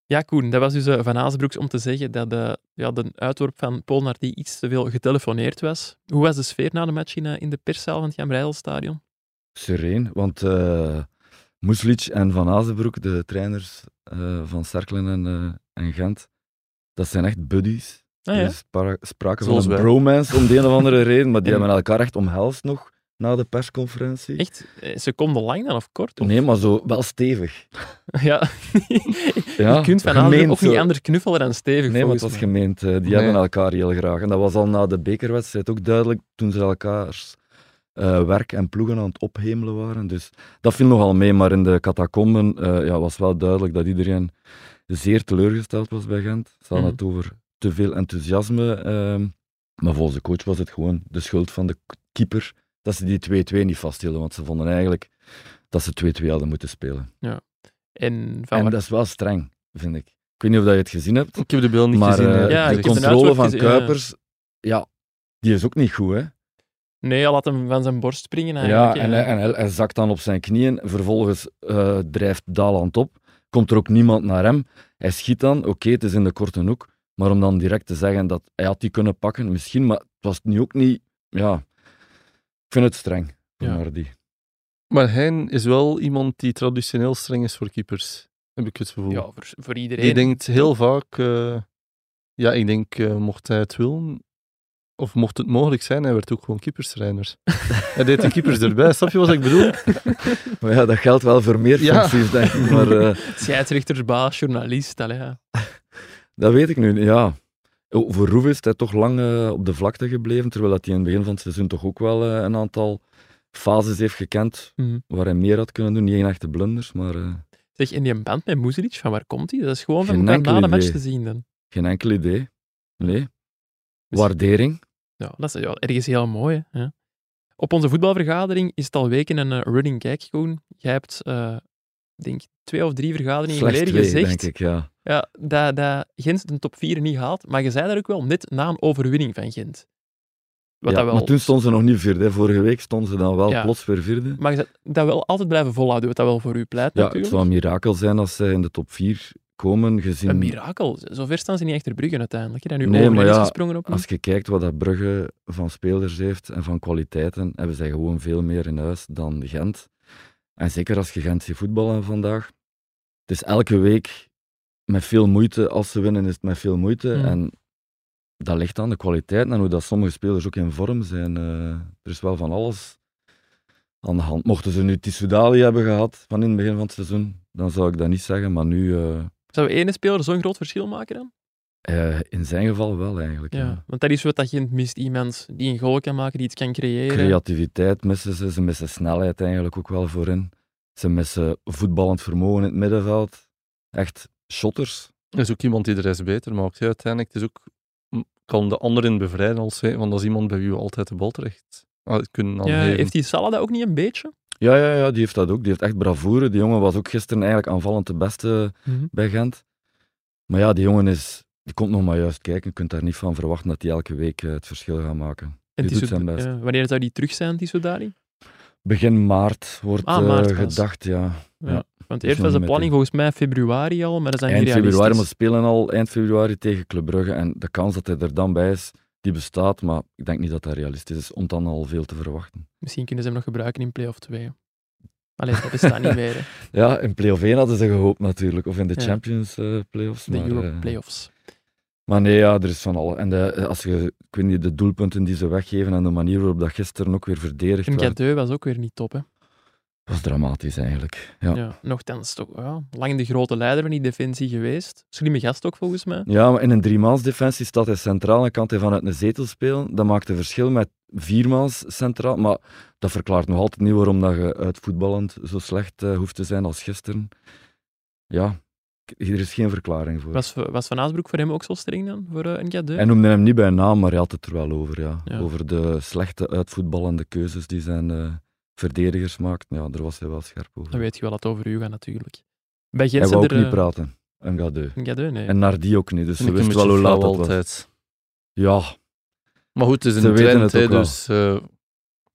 S1: Ja, Koen, dat was dus eh, Van Haasbroeks om te zeggen dat eh, ja, de uitworp van Paul Nardi iets te veel getelefoneerd was. Hoe was de sfeer na de match in, eh, in de perszaal van het Jan Breidelstadion?
S4: Sereen, want eh Moeslic en Van Azenbroek, de trainers eh, van Cerkelen en, eh, en Gent, dat zijn echt buddies.
S1: Ah,
S4: Er
S1: ja.
S4: is spra- sprake
S3: Zoals
S4: van een
S3: wij.
S4: bromance om de een of andere reden, maar die
S1: En-
S4: hebben elkaar echt omhelst nog na de persconferentie.
S1: Echt? eh, Seconden lang dan of kort? Of?
S4: Nee, maar zo wel stevig.
S1: Ja.
S4: Ja,
S1: Je kunt Van
S4: gemeend
S1: Haasbroek ook niet
S4: zo.
S1: anders knuffelen dan stevig.
S4: Nee, maar het
S1: volgens
S4: was
S1: mij.
S4: gemeend. eh, Die
S3: Nee.
S4: hebben elkaar heel graag. En dat was al na de bekerwedstrijd ook duidelijk toen ze elkaars eh, werk en ploegen aan het ophemelen waren. Dus dat viel nogal mee. Maar in de catacomben eh, ja, was wel duidelijk dat iedereen zeer teleurgesteld was bij Gent. Ze hadden
S1: Mhm.
S4: het over te veel enthousiasme. ehm, maar volgens de coach was het gewoon de schuld van de k- keeper dat ze die 2-2 niet vasthielden. Want ze vonden eigenlijk dat ze 2-2 hadden moeten spelen.
S1: En van
S4: En
S1: waar-
S4: dat is wel streng, vind ik. Ik weet niet of dat je het gezien hebt.
S3: Ik heb de beelden niet
S4: Maar
S3: gezien.
S4: eh,
S3: eerlijk
S1: Ja, ik
S4: de
S1: heb
S3: gezegd.
S1: een
S4: controle
S1: uitwerk
S4: van
S1: gezien, ja.
S4: Kuipers, ja, die is ook niet goed, hè?
S1: Nee, hij laat hem van zijn borst springen
S4: Ja,
S1: eigenlijk.
S4: en, hij, en hij, hij zakt dan op zijn knieën. Vervolgens eh, drijft Daland op. Komt er ook niemand naar hem. Hij schiet dan. Oké, het is in de korte hoek. Maar om dan direct te zeggen dat hij had die kunnen pakken, misschien, maar het was nu ook niet... Ja, ik vind het streng. voor
S1: Ja.
S4: Nardi.
S3: Maar hij is wel iemand die traditioneel streng is voor keepers, heb ik het gevoel.
S1: Ja, voor, voor iedereen.
S3: die denkt heel vaak, eh, ja, ik denk, eh, mocht hij het willen, of mocht het mogelijk zijn, hij werd ook gewoon keeperstrainer. hij deed de keepers erbij, snap je wat ik bedoel?
S4: Maar ja, dat geldt wel voor meer
S3: Ja.
S4: functies, denk ik. Maar eh,
S1: Scheidsrechter, baas, journalist. Allee, ja.
S4: dat weet ik nu niet, ja. Oh, Voor Roef is hij toch lang eh, op de vlakte gebleven, terwijl dat hij in het begin van het seizoen toch ook wel eh, een aantal fases heeft gekend
S1: Mhm.
S4: waar hij meer had kunnen doen. Niet één echte blunders, maar eh,
S1: Zeg, in die band met Muzilic, van waar komt hij? Dat is gewoon van
S4: Geen
S1: elkaar
S4: enkel
S1: na de match
S4: idee.
S1: te zien dan.
S4: geen enkel idee. Nee.
S1: Dus-
S4: Waardering.
S1: Ja, dat is ja, ergens heel mooi. Hè? Ja. Op onze voetbalvergadering is het al weken een eh, running gag, Koen. Jij hebt, eh, ik denk twee of drie vergaderingen
S4: Slechts
S1: geleden
S4: twee,
S1: gezegd
S4: denk ik, ja.
S1: Ja, dat, dat Gent de top 4 niet haalt. Maar je zei daar ook wel net na een overwinning van Gent. Wat
S4: Ja,
S1: dat wel...
S4: Maar toen stonden ze nog niet vierde. hè. Vorige week stonden ze dan wel
S1: Ja.
S4: plots weer vierde.
S1: Maar je zei- dat wel altijd blijven volhouden, wat dat wel voor u pleit
S4: Ja, het
S1: natuurlijk.
S4: zou een mirakel zijn als zij in de top vier komen gezien...
S1: Een mirakel. Zover staan ze niet achter Brugge uiteindelijk. hè, Dat nu
S4: Nee,
S1: nee,
S4: maar ja,
S1: gesprongen op.
S4: Als je kijkt wat dat Brugge van spelers heeft en van kwaliteiten, hebben zij gewoon veel meer in huis dan Gent. En zeker als je Gent ziet voetballen vandaag. Het is elke week met veel moeite. Als ze winnen, is het met veel moeite.
S1: Mm.
S4: En dat ligt aan de kwaliteit en hoe dat sommige spelers ook in vorm zijn. Eh, er is wel van alles aan de hand. Mochten ze nu Tissoudali hebben gehad van in het begin van het seizoen, dan zou ik dat niet zeggen. Maar nu, eh,
S1: Zou ene speler zo'n groot verschil maken dan?
S4: eh, in zijn geval wel eigenlijk.
S1: Ja.
S4: ja.
S1: Want dat is wat dat Gent mist. Iemand die een goal kan maken, die iets kan creëren.
S4: Creativiteit missen ze. Ze missen snelheid eigenlijk ook wel voorin. Ze missen voetballend vermogen in het middenveld. Echt shotters.
S3: Er is ook iemand die de rest beter maakt. hè, uiteindelijk het is ook, m- kan de anderen bevrijden als hij, want dat is iemand bij wie we altijd de bal terecht ah, kunnen
S1: Ja,
S3: aangeven.
S1: heeft die Salah dat ook niet een beetje?
S4: Ja, ja, ja, die heeft dat ook. Die heeft echt bravoure. Die jongen was ook gisteren eigenlijk aanvallend de beste
S1: Mhm.
S4: bij Gent. Maar ja, die jongen is, die komt nog maar juist kijken. Je kunt daar niet van verwachten dat hij elke week eh, het verschil gaat maken.
S1: En
S4: Die doet
S1: Tissot-
S4: zijn best.
S1: ja, wanneer zou die terug zijn, die Sodali?
S4: Begin maart wordt
S1: Ah,
S4: eh,
S1: maart pas.
S4: gedacht, ja.
S1: Want
S4: is
S1: eerst
S4: nog
S1: was de
S4: niet
S1: planning
S4: meteen.
S1: volgens mij februari al, maar dat zijn
S4: Eind
S1: niet realistisch.
S4: februari, maar ze spelen al eind februari tegen Club Brugge. En de kans dat hij er dan bij is, die bestaat. Maar ik denk niet dat dat realistisch is om dan al veel te verwachten.
S1: Misschien kunnen ze hem nog gebruiken in play-off 2. Allee, dat bestaat niet meer. hè.
S4: Ja, in play-off 1 hadden ze gehoopt natuurlijk. Of in de
S1: Ja.
S4: Champions eh play-offs.
S1: De
S4: maar,
S1: Europe
S4: eh,
S1: play-offs.
S4: maar nee, ja, er is van alles. En de, eh, als je, ik weet niet, de doelpunten die ze weggeven en de manier waarop dat gisteren ook weer verdedigd
S1: En
S4: werd,
S1: Gadeu was ook weer niet top, hè.
S4: was dramatisch eigenlijk. Ja.
S1: Ja, nochtans toch ja, lang de grote leider van die defensie geweest. Slimme gast ook volgens mij.
S4: Ja, maar in een driemansdefensie staat hij centraal en kan hij vanuit een zetel spelen. Dat maakt een verschil met viermaals centraal. Maar dat verklaart nog altijd niet waarom dat je uit voetballend zo slecht eh, hoeft te zijn als gisteren. Ja, k- er is geen verklaring voor.
S1: Was, was Van Aasbroek voor hem ook zo streng dan, voor eh, een Gadeu?
S4: Hij noemde hem niet bij naam, maar hij had het er wel over. Ja.
S1: Ja.
S4: Over de slechte uitvoetballende keuzes die zijn eh, verdedigers maakt. Ja, daar was hij wel scherp over.
S1: Dan Ah, weet je wel dat het over u gaat natuurlijk. Bij Gent
S4: Hij wou
S1: zijn
S4: ook
S1: er...
S4: niet
S1: eh,
S4: praten. Een gadeu.
S1: Een Gadeu, nee.
S4: En naar die ook niet, dus
S3: Vind
S4: ze
S3: ik een
S4: wist
S3: beetje
S4: wel hoe laat
S3: flauw
S4: het was.
S3: altijd.
S4: Ja,
S3: Maar goed, het is
S4: Ze
S3: een
S4: weten
S3: trend,
S4: het ook
S3: hè,
S4: wel.
S3: dus eh,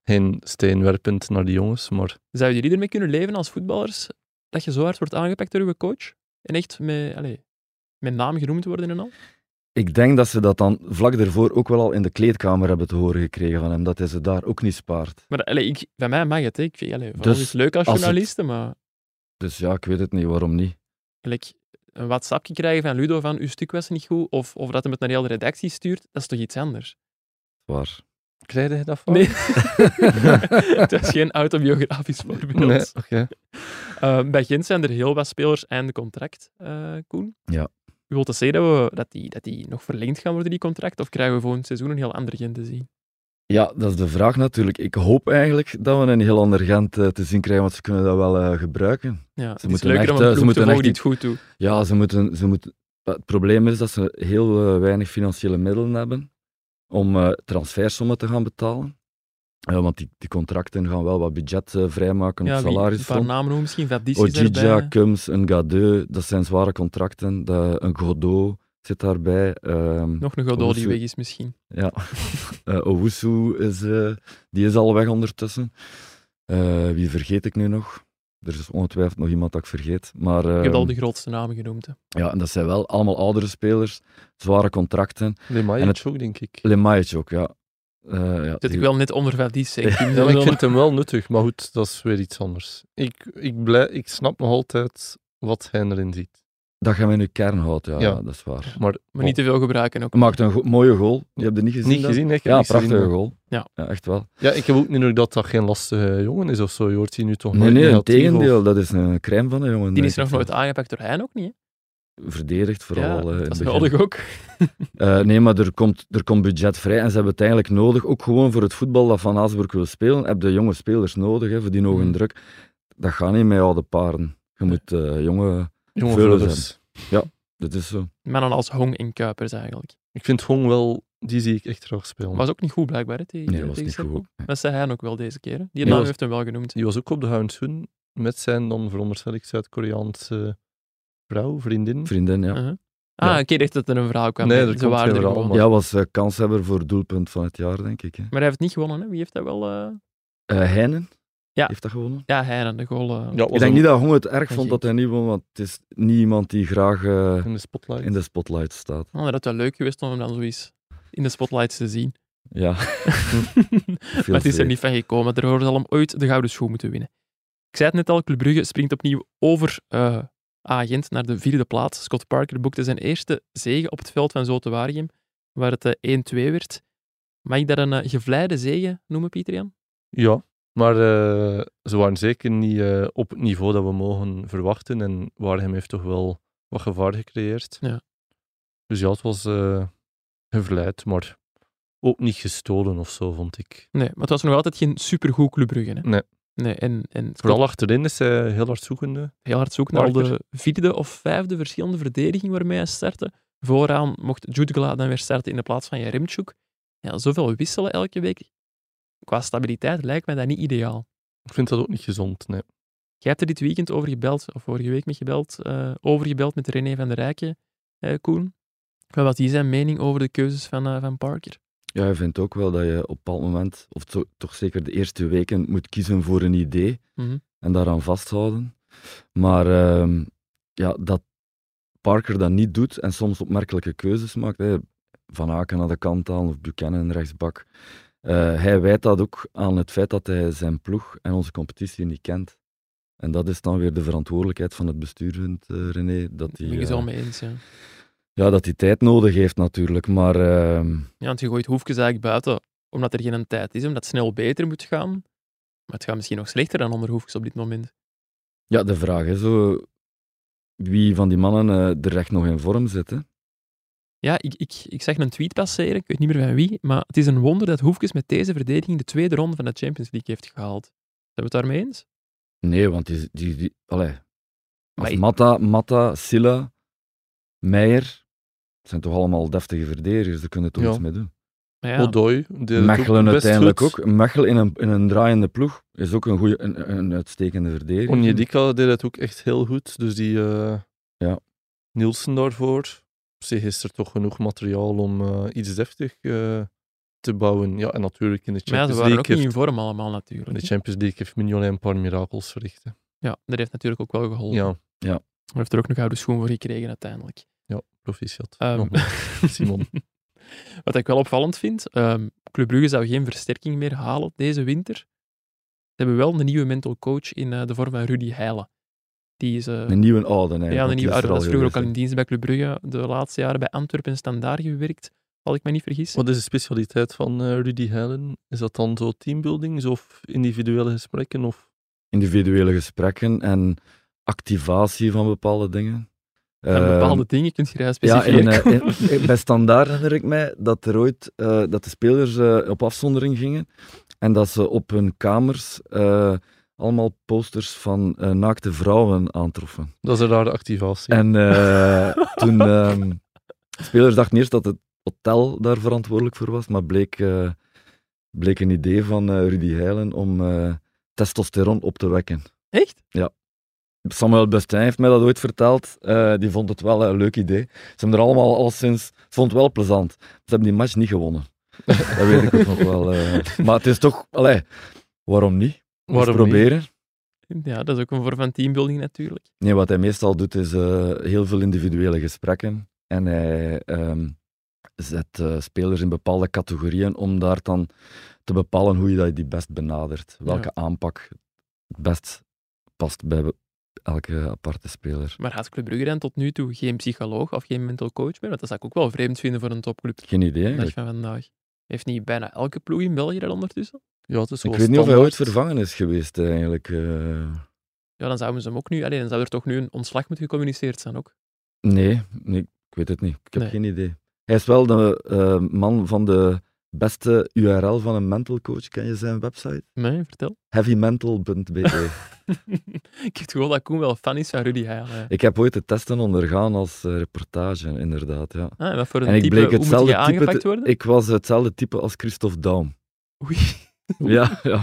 S3: geen steenwerpend naar die jongens. Maar
S1: Zou jullie ermee kunnen leven als voetballers, dat je zo hard wordt aangepakt door je coach? En echt met, allez, met naam genoemd worden en al?
S4: Ik denk dat ze dat dan vlak daarvoor ook wel al in de kleedkamer hebben te horen gekregen van hem, dat hij ze daar ook niet spaart.
S1: Maar allez, ik, bij mij mag het, hè. Ik vind, allez, voor
S4: Dus
S1: ons is het leuk als
S4: als het-
S1: journalisten, maar...
S4: Dus ja, ik weet het niet, waarom niet?
S1: gelijk een WhatsAppje krijgen van Ludo van uw stuk was niet goed, of, of dat hem het naar heel de redactie stuurt, dat is toch iets anders?
S4: Waar?
S3: krijg je dat van?
S1: Nee. het is geen autobiografisch voorbeeld.
S3: Nee, oké.
S1: Eh, bij Gent zijn er heel wat spelers einde contract, eh, Koen.
S4: Ja.
S1: U wilt dus zeggen dat, we, dat, die, dat die nog verlengd gaan worden, die contract, of krijgen we volgend seizoen een heel ander Gent te zien?
S4: Ja, dat is de vraag natuurlijk. Ik hoop eigenlijk dat we een heel ander Gent eh, te zien krijgen, want ze kunnen dat wel eh, gebruiken.
S1: Ja, het is
S4: moeten
S1: leuker
S4: echt,
S1: om
S4: eh,
S1: een
S4: ze
S1: ploeg te
S4: moeten
S1: volgen die het
S4: echt
S1: goed doet.
S4: Ja, ze moeten, ze moeten... Het probleem is dat ze heel eh, weinig financiële middelen hebben om eh, transfersommen te gaan betalen. Eh, want die, die contracten gaan wel wat budget eh, vrijmaken op
S1: Ja, wie- een paar
S4: salarisfront.
S1: namen noemen misschien, Vadis
S4: Oh,
S1: is
S4: Ojija,
S1: erbij.
S4: Kums, een Gadeu, E, dat zijn zware contracten. De, een Godot zit daarbij. ehm,
S1: Nog een Godot die
S4: Owusu.
S1: weg is misschien.
S4: ja. Eh, Owusu is, eh, die is al weg ondertussen. Eh, wie vergeet ik nu nog? Er is ongetwijfeld nog iemand dat ik vergeet. Maar,
S1: Ik heb al
S4: ehm,
S1: de grootste namen genoemd. hè.
S4: ja, en dat zijn wel allemaal oudere spelers, zware contracten.
S3: Nee, maar
S4: En het-
S3: ook, denk ik.
S4: Lemaitje ook, ja. Eh, ja
S1: Zit
S4: die-
S1: ik wel net onder Vadis, zeg. ik.
S3: Ja, maar ik vind hem wel nuttig, maar goed, dat is weer iets anders. Ik, ik, blij, ik snap nog altijd wat hij erin ziet.
S4: Dat gaan we in uw kern houden, ja,
S3: Ja.
S4: dat is waar.
S3: Maar oh.
S1: Maar niet te veel gebruiken ook.
S4: Hij maakt een go- mooie goal. Je hebt het niet gezien?
S3: niet
S4: dat?
S3: gezien, hè? Ik heb
S4: Ja,
S3: niks gezien,
S4: prachtige
S3: maar-
S4: goal.
S1: Ja.
S4: echt wel.
S3: Ja, ik heb ook niet nog dat dat geen lastige jongen is of zo. Je hoort die nu toch
S4: Nee,
S3: nooit
S4: nee, het
S3: negatief
S4: tegendeel.
S3: of-
S4: Dat is een crème van een jongen.
S1: Die
S4: denk
S1: is nog
S4: ik.
S1: nooit aangepakt door hij ook niet. hè?
S4: Verdedigd
S1: ja,
S4: vooral. eh, in
S1: dat is
S4: het
S1: nodig
S4: begin.
S1: ook.
S4: Eh, nee, maar er komt, er komt budget vrij en ze hebben het eigenlijk nodig. Ook gewoon voor het voetbal dat Van Aasbroek wil spelen, heb je jonge spelers nodig hè, voor die hoge
S1: Mhm.
S4: druk. Dat gaat niet met oude paren. Je moet eh, jonge...
S3: Jonge
S4: Vullen
S3: vullers.
S4: Dat is zo.
S1: Mannen als Hong en Kuipers eigenlijk.
S3: Ik vind Hong wel, die zie ik echt graag spelen.
S1: Was ook niet goed blijkbaar, hè, tegen,
S4: Nee, dat was
S1: tegen
S4: niet
S1: Cerco.
S4: goed.
S1: Dat zei hij ook wel deze keer. hè. Die
S3: Ja,
S1: naam
S3: was-
S1: heeft hem wel genoemd.
S3: Die was ook op de Hounsoon met zijn dan veronderstel ik Zuid-Koreaanse vrouw, vriendin.
S4: Vriendin, ja.
S1: Uh-huh. Ah,
S3: Ja.
S1: ik dacht dat er een vrouw kwam.
S3: Nee,
S1: hè.
S3: er
S1: Ze
S3: komt
S1: waren
S3: geen
S1: er
S3: verhaal,
S1: gewoon.
S3: maar-
S4: Ja, was eh, kanshebber voor doelpunt van het jaar, denk ik. Hè.
S1: Maar hij heeft niet gewonnen, hè. Wie heeft dat wel... eh?
S4: Eh, Heinen?
S1: Ja.
S4: Heeft dat gewonnen?
S1: Ja, Heinen, de goal. eh,
S3: Ja,
S4: Ik
S3: was
S4: denk
S3: ook
S4: niet dat Hong het erg
S1: Denk
S4: vond
S1: ik.
S4: dat hij niet won, want het is niet iemand die graag eh,
S3: in de spotlight.
S4: in de spotlight staat.
S1: Oh, dat had wel leuk geweest om hem dan zoiets in de spotlights te zien.
S4: Ja.
S1: maar het is er niet van gekomen. Daarvoor zal hem ooit de gouden schoen moeten winnen. Ik zei het net al, Club Brugge springt opnieuw over eh Agent naar de vierde plaats. Scott Parker boekte zijn eerste zege op het veld van Zote Waregem, waar het eh, 1-2 werd. Mag ik dat een eh, gevleide zege noemen, Pieter Jan?
S3: Ja, maar eh, ze waren zeker niet eh, op het niveau dat we mogen verwachten. En Waregem heeft toch wel wat gevaar gecreëerd.
S1: Ja.
S3: Dus ja, het was eh gevleid, maar ook niet gestolen of zo, vond ik.
S1: Nee, maar het was nog altijd geen supergoed Club Brugge. Hè?
S3: Nee.
S1: nee en, en Scott
S3: Vooral achterin is hij heel hard zoekende.
S1: heel hard zoeken naar al de
S3: Parker.
S1: vierde of vijfde verschillende verdediging waarmee hij startte. Vooraan mocht Jutgla dan weer starten in de plaats van Jeremtjouk. Ja, zoveel wisselen elke week. Qua stabiliteit lijkt mij dat niet ideaal.
S3: Ik vind dat ook niet gezond, nee.
S1: Jij hebt er dit weekend over gebeld, of vorige week met gebeld, eh over gebeld met René van der Rijken, eh, Koen. Wat was die zijn mening over de keuzes van, eh, van Parker?
S4: Ja, je vindt ook wel dat je op een bepaald moment, of zo- toch zeker de eerste weken, moet kiezen voor een idee
S1: Mhm.
S4: en daaraan vasthouden. Maar ehm, ja, dat Parker dat niet doet en soms opmerkelijke keuzes maakt, hè, Van Aken aan de kant aan of Buchanan rechtsbak, Eh, hij wijt dat ook aan het feit dat hij zijn ploeg en onze competitie niet kent. En dat is dan weer de verantwoordelijkheid van het bestuur, vindt eh, René. Dat
S1: Daar
S4: hij,
S1: ben ik het wel
S4: eh,
S1: mee eens, ja.
S4: ja, dat hij tijd nodig heeft natuurlijk, maar... ehm,
S1: Ja, want je gooit Hoefkes eigenlijk buiten, omdat er geen tijd is, omdat het snel beter moet gaan. Maar het gaat misschien nog slechter dan onder Hoefkes op dit moment.
S4: Ja, de vraag is zo, wie van die mannen eh, er echt nog in vorm zit. Hè?
S1: Ja, ik, ik, ik zag een tweet passeren, ik weet niet meer van wie, maar het is een wonder dat Hoefkes met deze verdediging de tweede ronde van de Champions League heeft gehaald. Zijn we het daarmee eens?
S4: Nee, want die... die, die allee. Als
S1: Maar ik-
S4: Matta, Matta, Silla, Meijer, het zijn toch allemaal deftige verdedigers, daar kunnen we toch
S3: Ja.
S4: iets mee doen.
S1: Maar ja,
S3: Odoi deed het ook
S4: Mechelen
S3: best
S4: uiteindelijk
S3: goed.
S4: ook. Mechelen in een, in een draaiende ploeg is ook een, goeie, een, een uitstekende verdediger.
S3: Onjedika deed het ook echt heel goed. Dus die eh,
S4: Ja.
S3: Nielsen daarvoor. Op zich is er toch genoeg materiaal om eh, iets deftig eh, te bouwen. Ja, en natuurlijk in de
S1: maar ja, ze
S3: Champions
S1: waren ook
S3: League
S1: niet
S3: heeft
S1: in vorm allemaal
S3: In de
S1: natuurlijk.
S3: Champions League heeft Mignolet een paar mirakels verricht. hè.
S1: Ja, dat heeft natuurlijk ook wel geholpen.
S3: Ja,
S1: Hij heeft er ook nog gouden schoen voor gekregen uiteindelijk.
S3: proficiat.
S1: Ehm,
S3: Nogmaals, Simon.
S1: Wat ik wel opvallend vind, ehm, Club Brugge zou geen versterking meer halen deze winter. Ze hebben wel een nieuwe mental coach in eh, de vorm van Rudy Heijlen. Die is eh,
S4: Een nieuwe oude eigenlijk.
S1: Ja, de
S4: want die
S1: nieuwe
S4: is
S1: ouder.
S4: er
S1: Dat is vroeger ook al in
S4: geweest,
S1: dienst bij Club Brugge. De laatste jaren bij Antwerpen en Standaard gewerkt, als ik me niet vergis.
S3: Wat is de specialiteit van eh, Rudy Heilen? Is dat dan zo teambuildings of individuele gesprekken? Of...
S4: hè. Individuele gesprekken en activatie van bepaalde dingen.
S1: Van
S4: Ehm,
S1: bepaalde dingen kun je vrij
S4: Ja,
S1: specifiek
S4: en, eh,
S1: komen.
S4: en- en bij Standaard herinner ik mij dat er ooit eh, dat de spelers eh, op afzondering gingen en dat ze op hun kamers eh, allemaal posters van eh, naakte vrouwen aantroffen.
S3: Dat is een rare activatie.
S4: En eh, toen ehm, de spelers dachten eerst dat het hotel daar verantwoordelijk voor was, maar bleek, eh, bleek een idee van eh, Rudy Heilen om eh, testosteron op te wekken.
S1: Echt?
S4: Samuel Bestijn heeft mij dat ooit verteld. Eh, die vond het wel een leuk idee. Ze hebben er allemaal al sinds. Ze vond het wel plezant. Ze hebben die match niet gewonnen. dat weet ik ook nog wel. eh. Maar het is toch. Allee, waarom niet? Eens
S3: Waarom niet?
S4: proberen.
S1: Ja, dat is ook een vorm van teambuilding natuurlijk.
S4: Nee, wat hij meestal doet is eh, heel veel individuele gesprekken. En hij ehm, zet eh, spelers in bepaalde categorieën om daar dan te bepalen hoe je dat die best benadert. Welke aanpak het best past bij be- elke aparte speler.
S1: Maar had Club Brugge dan tot nu toe geen psycholoog of geen mental coach meer? Want dat zou ik ook wel vreemd vinden voor een topclub.
S4: Geen idee
S1: de
S4: eigenlijk.
S1: Dag van vandaag. Heeft niet bijna elke ploeg in België dat ondertussen?
S3: Ja, het is
S4: Ik
S3: wel
S4: weet niet of hij ooit
S3: standaard.
S4: vervangen is geweest eigenlijk. eh.
S1: Ja, dan zouden ze hem ook nu... Alleen dan zou er toch nu een ontslag moeten gecommuniceerd zijn ook.
S4: nee, nee, ik weet het niet. Ik heb
S1: Nee.
S4: geen idee. Hij is wel de eh, man van de beste URL van een mental coach. Ken je zijn website?
S1: Nee, vertel.
S4: Heavymental.be.
S1: ik heb het gevoel dat Koen wel fan is van Rudy Heijlen. ja.
S4: ik heb ooit de testen ondergaan als eh, reportage, inderdaad. Ja.
S1: Ah, en wat voor een
S4: En ik
S1: type,
S4: bleek
S1: hoe moet
S4: hetzelfde
S1: je
S4: type.
S1: aangepakt
S4: te-
S1: worden?
S4: ik was hetzelfde type als Christophe Daum.
S1: Oei.
S4: Ja, ja.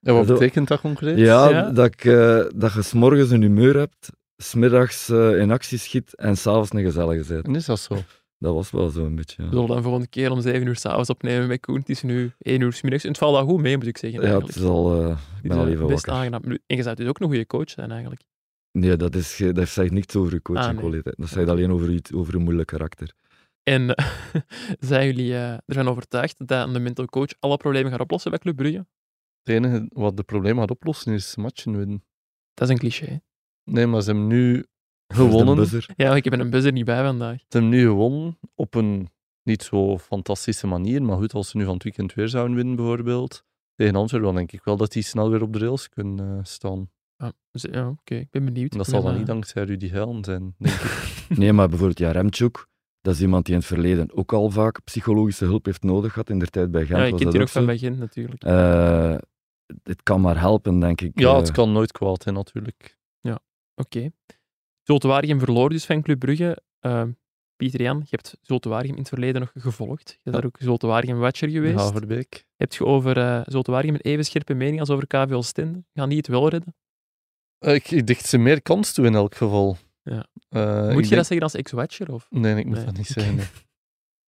S3: Ja, wat
S4: Zo-
S3: betekent dat concreet?
S4: Ja,
S1: Ja.
S4: Dat, ik, eh, dat je s'morgens een humeur hebt, smiddags eh in actie schiet en s'avonds een gezellige bent.
S3: En is dat zo?
S4: Dat was wel zo'n beetje.
S1: We
S4: Ja.
S1: zullen dan volgende keer om 7 uur s'avonds opnemen met Koen. Het is nu 1 uur 's middags. En het valt wel goed mee, moet ik zeggen.
S4: Ja,
S1: Eigenlijk.
S4: het is al, eh,
S1: Het
S4: ik
S1: is,
S4: ben al
S1: eh,
S4: even
S1: best
S4: wakker.
S1: aangenaam. Nu, En je zou dus ook een goede coach zijn, eigenlijk.
S4: Nee, dat, is, ge- dat zegt niets over je
S1: Ah,
S4: coachingkwaliteit. Dat zegt alleen over, iets, over een moeilijk karakter.
S1: En eh, zijn jullie eh, ervan overtuigd dat een mental coach alle problemen gaat oplossen bij Club Brugge?
S3: Het enige wat de probleem gaat oplossen is matchen winnen.
S1: Dat is een cliché. hè?
S3: Nee, maar ze hebben nu
S4: Dat is de
S3: gewonnen. Ze
S4: buzzer.
S1: Ja, ik heb een buzzer niet bij vandaag.
S3: hebben nu gewonnen op een niet zo fantastische manier. Maar goed, als ze nu van het weekend weer zouden winnen, bijvoorbeeld, tegen Antwerpen, dan denk ik wel dat die snel weer op de rails kunnen eh, staan.
S1: Ah, dus, ja, Oké, ik ben benieuwd.
S3: En dat
S1: Ik
S3: zal
S1: ben,
S3: dan niet
S1: eh,
S3: dankzij Rudy Helm zijn, denk ik.
S4: Nee, maar bijvoorbeeld ja, Remchuk, dat is iemand die in het verleden ook al vaak psychologische hulp heeft nodig gehad. In de tijd bij
S1: Ja,
S4: Gent was
S1: ik
S4: dat
S1: kent hier ook
S4: zo.
S1: van bij Gent, natuurlijk.
S4: Eh, het kan maar helpen, denk ik.
S3: Ja,
S4: Eh,
S3: het kan nooit kwaad, hè, natuurlijk.
S1: Oké. Zulte Waregem verloor dus van Club Brugge. Ehm, Pieter Jan, je hebt Zulte Waregem in het verleden nog gevolgd. Je bent daar ook Zulte Waregem watcher
S3: De
S1: geweest.
S3: Haverbeek.
S1: Heb je over eh Zulte Waregem een even scherpe mening als over KV Oostende? Gaan die het wel redden?
S3: Eh, Ik, ik dicht ze meer kans toe in elk geval.
S1: Ja.
S3: Eh,
S1: Moet
S3: ik
S1: je
S3: denk-
S1: dat zeggen als ex-watcher? Of?
S3: Nee, ik moet
S1: Nee,
S3: dat niet
S1: oké.
S3: zeggen. nee.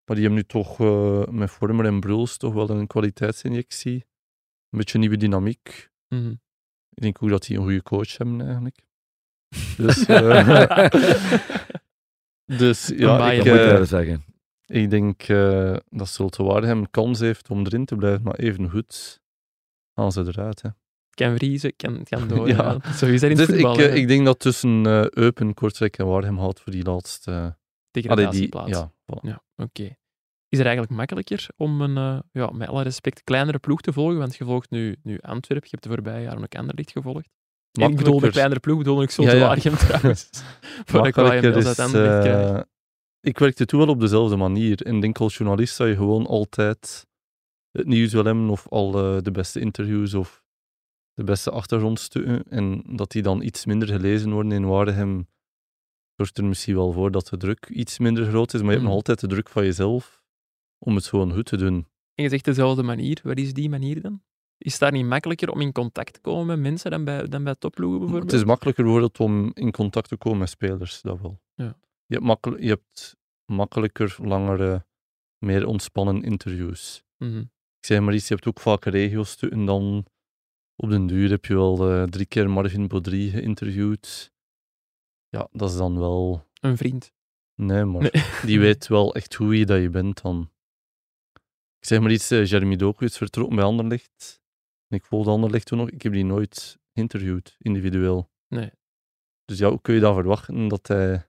S3: Maar die hebben nu toch eh, met Vormer en Bruls toch wel een kwaliteitsinjectie. Een beetje nieuwe dynamiek.
S1: Mhm.
S3: Ik denk ook dat die een goede coach hebben eigenlijk. Dus, eh, dus ja,
S1: baaier.
S3: ik,
S4: dat moet
S3: eh,
S4: ik wel zeggen.
S3: ik denk eh dat Zulte Waregem kans heeft om erin te blijven, maar even goed gaan ze eruit. Hè.
S1: Het kan vriezen, het kan, het kan door.
S3: Ja.
S1: ja. Zo is dat in het
S3: Dus ik,
S1: voetbal.
S3: eh,
S1: hè.
S3: ik denk dat tussen eh Eupen, Kortrijk en Waregem houdt voor die laatste... Allee, die,
S1: Degradatieplaats.
S3: ja, voilà.
S1: Ja, oké. Is het eigenlijk makkelijker om een, eh, ja, met alle respect, kleinere ploeg te volgen? Want je volgt nu, nu Antwerpen, je hebt de voorbije jaren ook Anderlicht gevolgd. En ik bedoel de
S3: Makkelijker.
S1: kleinere ploeg, bedoel ik Zulte
S3: Ja, ja.
S1: Waregem trouwens. Voor ik wel je
S3: Makkelijker
S1: mails
S3: is,
S1: uit Anderlecht krijgt.
S3: eh, ik werkte toen wel op dezelfde manier. En ik denk als journalist zou je gewoon altijd het nieuws wel hebben of al eh, de beste interviews of de beste achtergrondstukken. En dat die dan iets minder gelezen worden in Waardegem zorgt er misschien wel voor dat de druk iets minder groot is. Maar je hebt
S1: Mhm.
S3: nog altijd de druk van jezelf om het gewoon goed te doen.
S1: En je zegt dezelfde manier. Wat is die manier dan? Is het daar niet makkelijker om in contact te komen met mensen dan bij, dan bij topploegen bijvoorbeeld?
S3: Het is makkelijker bijvoorbeeld om in contact te komen met spelers, dat wel.
S1: Ja.
S3: Je, hebt makkel- je hebt makkelijker, langere, meer ontspannen interviews.
S1: Mhm.
S3: Ik zeg maar iets, je hebt ook vaak regio's en dan op den duur heb je wel eh, drie keer Marvin Baudry geïnterviewd. Ja, dat is dan wel...
S1: Een vriend.
S3: Nee, maar
S1: Nee.
S3: die weet wel echt hoe je dat je bent dan. Ik zeg maar iets, eh, Jeremy Doku is vertrokken bij Anderlecht. En ik volgde Anderlecht toen nog. Ik heb die nooit geïnterviewd, individueel.
S1: Nee.
S3: Dus ja, hoe kun je dan verwachten dat hij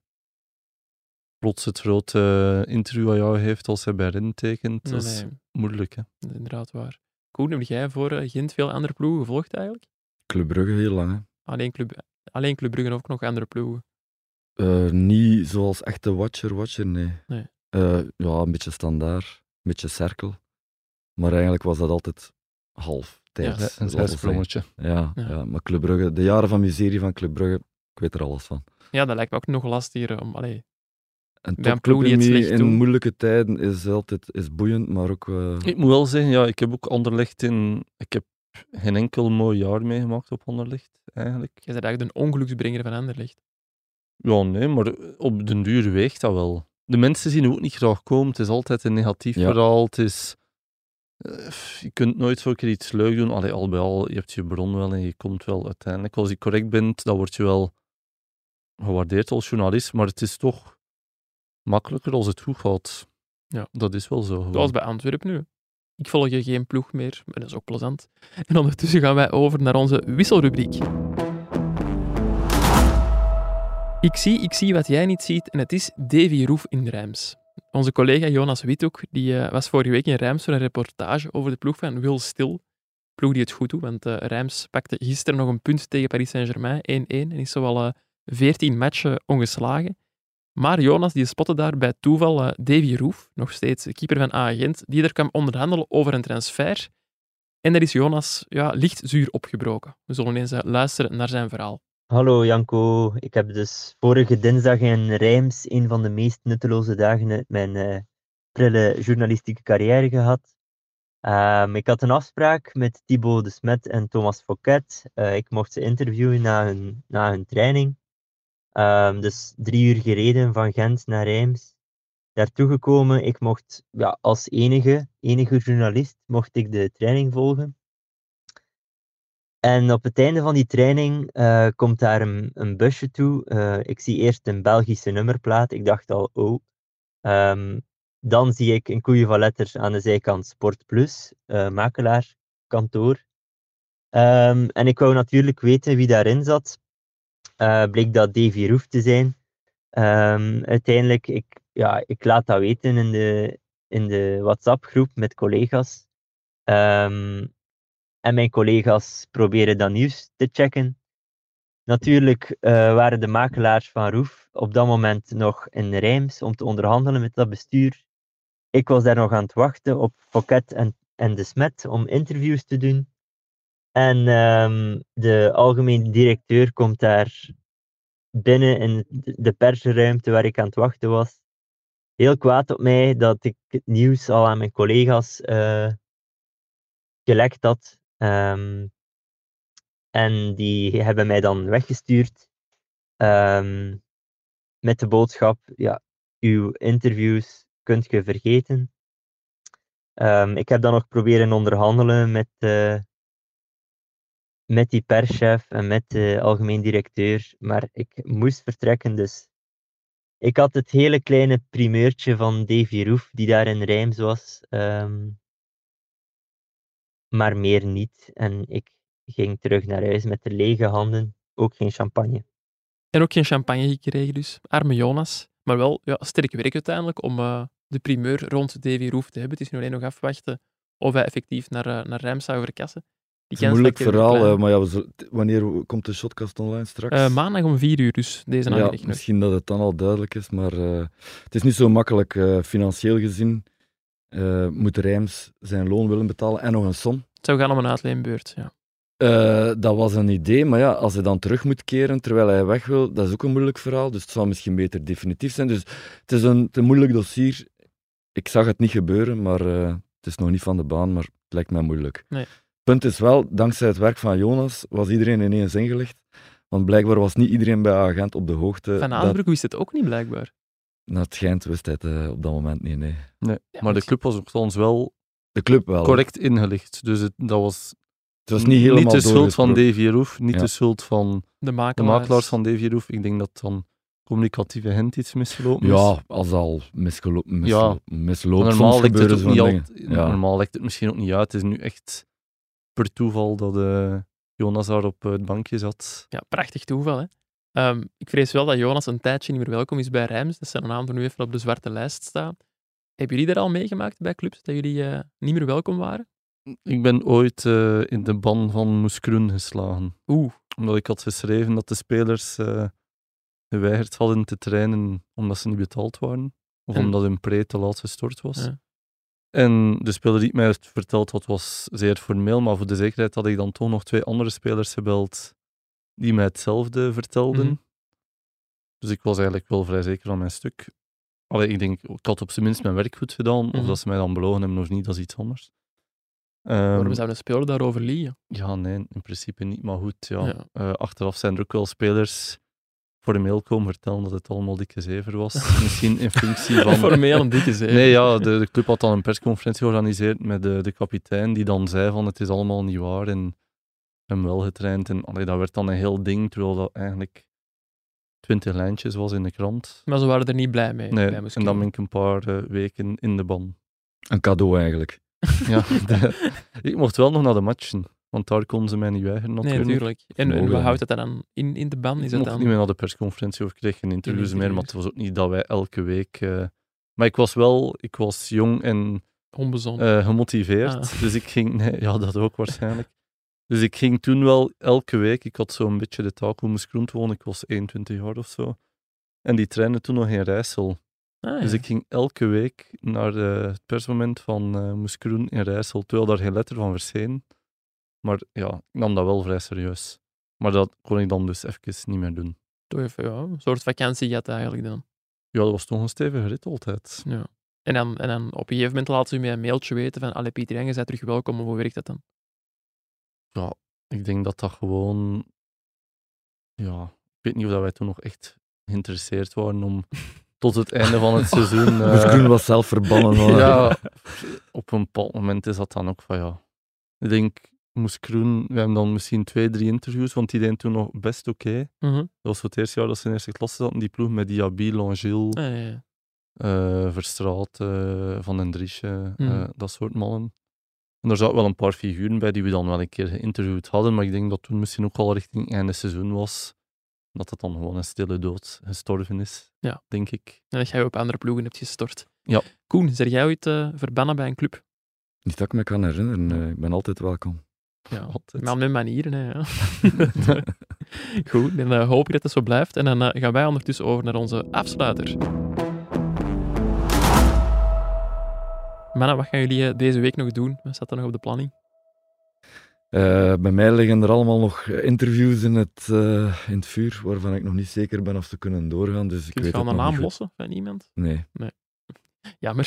S3: plots het grote eh, interview aan jou heeft als hij bij Ren tekent?
S1: Nee,
S3: dat is
S1: nee,
S3: moeilijk, hè.
S1: dat is inderdaad waar. Koen, heb jij voor eh, Gent veel andere ploegen gevolgd eigenlijk?
S4: Club Brugge heel lang. Hè.
S1: Alleen Club, alleen Club Brugge of ook nog andere ploegen?
S4: Eh, niet zoals echte watcher, watcher, nee.
S1: Nee.
S4: Eh, ja, een beetje standaard, een beetje cirkel. Maar eigenlijk was dat altijd half
S1: Ja,
S4: tijds.
S3: een
S4: laten we zeggen.
S3: zijsprongetje.
S4: Ja,
S1: Ja.
S4: ja. maar Club Brugge, de jaren van miserie van Club Brugge, ik weet er alles van.
S1: Ja, dat lijkt me ook nog lastig om... Allee,
S4: Een
S1: Bij een ploeg die het
S4: topclub in-
S1: slecht
S4: in
S1: doet.
S4: moeilijke tijden is altijd is boeiend, maar ook... eh,
S3: Ik moet wel zeggen, ja, ik heb ook Anderlecht in... Ik heb geen enkel mooi jaar meegemaakt op Anderlecht, eigenlijk.
S1: jij bent eigenlijk de ongeluksbrenger van Anderlecht.
S3: Ja, nee, maar op den duur weegt dat wel. De mensen zien hoe het niet graag komen. Het is altijd een negatief
S4: Ja.
S3: verhaal. Het is, eh, pff, je kunt nooit zo keer iets leuk doen. Allee, al bij al, je hebt je bron wel en je komt wel uiteindelijk. Als je correct bent, dan word je wel gewaardeerd als journalist. Maar het is toch makkelijker als het goed gaat.
S1: Ja.
S3: Dat is wel zo. gewoon.
S1: Zoals bij Antwerpen nu. Ik volg je geen ploeg meer, maar dat is ook plezant. En ondertussen gaan wij over naar onze wisselrubriek. Ik zie, ik zie wat jij niet ziet en het is Davy Roef in Rijms. Onze collega Jonas Withoek die, eh, was vorige week in Rijms voor een reportage over de ploeg van Wil Stil. Ploeg die het goed doet, want eh, Rijms pakte gisteren nog een punt tegen Paris Saint-Germain, 1-1, en is zowel eh 14 matchen ongeslagen. Maar Jonas die spotte daar bij toeval eh, Davy Roef, nog steeds de keeper van A-agent, die er kwam onderhandelen over een transfer. En daar is Jonas ja, licht zuur opgebroken. We zullen eens eh, luisteren naar zijn verhaal.
S7: Hallo Janko, ik heb dus vorige dinsdag in Rijms een van de meest nutteloze dagen uit mijn eh prille journalistieke carrière gehad. Ehm, ik had een afspraak met Thibaut de Smet en Thomas Fouquet. Eh, ik mocht ze interviewen na hun, na hun training. Ehm, dus drie uur gereden van Gent naar Rijms. daartoe gekomen. Ik mocht ja, als enige, enige journalist, mocht ik de training volgen. En op het einde van die training eh, komt daar een, een busje toe. Eh, ik zie eerst een Belgische nummerplaat. Ik dacht al, oh. Ehm, dan zie ik een koeien van letters aan de zijkant Sport Plus, eh, makelaar, kantoor. Ehm, en ik wou natuurlijk weten wie daarin zat. Eh, bleek dat Davy Roef te zijn. Ehm, uiteindelijk, ik, ja, ik laat dat weten in de, in de WhatsApp-groep met collega's. Ehm, en mijn collega's proberen dat nieuws te checken. Natuurlijk eh, waren de makelaars van Roef op dat moment nog in Rijms om te onderhandelen met dat bestuur. Ik was daar nog aan het wachten op Fouquet en, en de Smet om interviews te doen. En ehm, de algemene directeur komt daar binnen in de- de persruimte waar ik aan het wachten was. Heel kwaad op mij dat ik het nieuws al aan mijn collega's eh, gelekt had. Ehm, en die hebben mij dan weggestuurd ehm, met de boodschap: ja, uw interviews kunt je vergeten. Ehm, ik heb dan nog proberen onderhandelen met, eh, met die perschef en met de algemeen directeur, maar ik moest vertrekken dus. Ik had het hele kleine primeurtje van Davy Roef, die daar in Rijms was. ehm, maar meer niet. En ik ging terug naar huis met de lege handen, ook geen champagne.
S1: En ook geen champagne gekregen, dus. Arme Jonas. Maar wel ja, sterk werk uiteindelijk om eh, de primeur rond Davy Roof te hebben. Het is nu alleen nog afwachten of hij effectief naar, eh, naar Rijms zou verkassen. Die
S4: Het is een
S1: kans
S4: moeilijk
S1: lijkt heel
S4: verhaal,
S1: klein.
S4: hè, maar ja, we zullen- t- wanneer komt de shotcast online straks?
S1: Eh, maandag om vier uur, dus deze
S4: ja,
S1: namiddag nog.
S4: misschien dat het dan al duidelijk is, maar eh, het is niet zo makkelijk. eh, financieel gezien eh, moet Rijms zijn loon willen betalen en nog een som.
S1: Het zou gaan om een uitleenbeurt. Ja.
S4: Eh, dat was een idee, maar ja, als hij dan terug moet keren terwijl hij weg wil, dat is ook een moeilijk verhaal. Dus het zou misschien beter definitief zijn. Dus het is een te moeilijk dossier. Ik zag het niet gebeuren, maar eh, het is nog niet van de baan, maar het lijkt mij moeilijk.
S1: Nee.
S4: Punt is wel, dankzij het werk van Jonas was iedereen ineens ingelicht. Want blijkbaar was niet iedereen bij agent op de hoogte.
S1: Van
S4: Eh, dat,
S1: Aasbroek wist het ook niet, blijkbaar.
S4: nou, het schijnt wist hij het eh, op dat moment niet, nee.
S1: Ja,
S3: maar de club was ons wel
S4: De club wel.
S3: correct ingelicht. Dus het, dat was,
S4: Het was niet helemaal
S3: de schuld van
S4: doorgesproken.
S3: Davy Roef, niet
S4: Ja.
S3: de schuld van
S1: De
S3: de
S1: makelaars.
S3: makelaars van Davy Roef. Ik denk dat dan communicatieve hint iets misgelopen is.
S4: Ja, als al misgelopen, mis,
S3: Ja.
S4: misloopt,
S3: Maar
S4: soms
S3: normaal lekt, het
S4: gebeuren
S3: ook
S4: zo'n
S3: niet
S4: dingen.
S3: altijd-
S4: Ja.
S3: normaal lekt het misschien ook niet uit. Het is nu echt per toeval dat eh, Jonas daar op eh, het bankje zat.
S1: Ja, prachtig toeval, hè. Ehm, ik vrees wel dat Jonas een tijdje niet meer welkom is bij Rijms. Dat zijn naam er nu even op de zwarte lijst staan. Hebben jullie daar al meegemaakt bij clubs, dat jullie eh, niet meer welkom waren?
S3: Ik ben ooit eh, in de ban van Moeskroen geslagen.
S1: Oeh,
S3: Omdat ik had geschreven dat de spelers eh, geweigerd hadden te trainen omdat ze niet betaald waren. Of
S1: En-
S3: omdat hun pre te laat gestort was.
S1: Ja.
S3: En de speler die het mij heeft verteld had, was zeer formeel. Maar voor de zekerheid had ik dan toch nog twee andere spelers gebeld die mij hetzelfde vertelden.
S1: Mhm.
S3: Dus ik was eigenlijk wel vrij zeker van mijn stuk. Allee, ik denk, ik had op zijn minst mijn werk goed gedaan. Of
S1: Mhm.
S3: dat ze mij dan belogen hebben of niet, dat is iets anders.
S1: waarom
S3: Ehm,
S1: zou een speler daarover liegen?
S3: ja, nee, in principe niet. Maar goed, ja.
S1: Ja.
S3: Eh, achteraf zijn er ook wel spelers formeel komen vertellen dat het allemaal dikke zever was. Misschien in functie van...
S1: Formeel een dikke zeven.
S3: Nee, ja, de, de club had dan een persconferentie georganiseerd met de, de kapitein, die dan zei van het is allemaal niet waar en hem wel getraind. En allee, dat werd dan een heel ding, terwijl dat eigenlijk twintig lijntjes was in de krant.
S1: Maar ze waren er niet blij mee.
S3: Nee,
S1: bij
S3: en dan ben ik een paar eh, weken in de ban.
S4: Een cadeau eigenlijk.
S3: Ja, de- ik mocht wel nog naar de matchen, want daar konden ze mij niet weigeren
S1: Nee,
S3: natuurlijk.
S1: natuurlijk. En, en
S4: Mogen
S1: hoe
S4: dan.
S1: houdt dat dan in, in de ban? Is
S3: Ik
S1: dat
S3: mocht
S1: dan...
S3: niet meer naar de persconferentie of ik kreeg geen interviews meer, maar
S1: interviews.
S3: het was ook niet dat wij elke week... eh, maar ik was wel, ik was jong en
S1: Onbezonnen.
S3: eh, gemotiveerd,
S1: Ah.
S3: dus ik ging... Nee, ja, dat ook waarschijnlijk. Dus ik ging toen wel elke week, ik had zo'n beetje de taak om groen wonen, ik was 21 jaar of zo. En die trainde toen nog in Rijssel.
S1: Ah, ja.
S3: Dus ik ging elke week naar eh, het persmoment van eh Moeskroen in Rijssel, terwijl daar geen letter van verscheen. Maar ja, ik nam dat wel vrij serieus. Maar dat kon ik dan dus even niet meer doen.
S1: Toch even, ja, een soort vakantie gehad eigenlijk dan.
S3: Ja, dat was toch een stevige rit altijd.
S1: Ja. En dan, en dan op een gegeven moment laten ze mij een mailtje weten van Allee Pieter Jan, je bent terug welkom, of hoe werkt dat dan?
S3: Ja, ik denk dat dat gewoon... Ja, ik weet niet of dat wij toen nog echt geïnteresseerd waren om tot het einde van het seizoen.
S4: Dus
S3: eh,
S4: Groen was zelf verbannen. hoor.
S3: ja, op een bepaald moment is dat dan ook van ja. Ik denk, moest Kroen, we hebben dan misschien twee, drie interviews, want die deden toen nog best oké.
S1: Mhm.
S3: Dat was zo het eerste jaar dat ze in eerste klasse zaten, die ploeg met Diaby, Langil,
S1: Ah, ja, ja.
S3: eh, Verstraat, eh, Van den Driesje, eh,
S1: Mhm.
S3: dat soort mannen. En er zaten wel een paar figuren bij die we dan wel een keer geïnterviewd hadden, maar ik denk dat toen misschien ook al richting einde seizoen was, dat het dan gewoon een stille dood gestorven is,
S1: Ja.
S3: denk ik.
S1: En dat jij op andere ploegen hebt gestort.
S3: Ja.
S1: Koen, zeg jij ooit eh, verbannen bij een club?
S4: Niet dat ik me kan herinneren. eh, Ik ben altijd welkom.
S1: Ja.
S3: Altijd.
S1: Maar met manieren, hè. ja. Goed, dan eh, hoop ik dat dat zo blijft. En dan eh, gaan wij ondertussen over naar onze afsluiter. Mannen, wat gaan jullie eh, deze week nog doen? Wat staat er nog op de planning?
S4: Eh, bij mij liggen er allemaal nog interviews in het, eh, in het vuur, waarvan ik nog niet zeker ben of ze kunnen doorgaan. Dus ik
S1: Kun je
S4: weet
S1: gewoon
S4: het
S1: een
S4: nog
S1: naam
S4: niet goed.
S1: lossen van iemand?
S4: Nee.
S1: Jammer.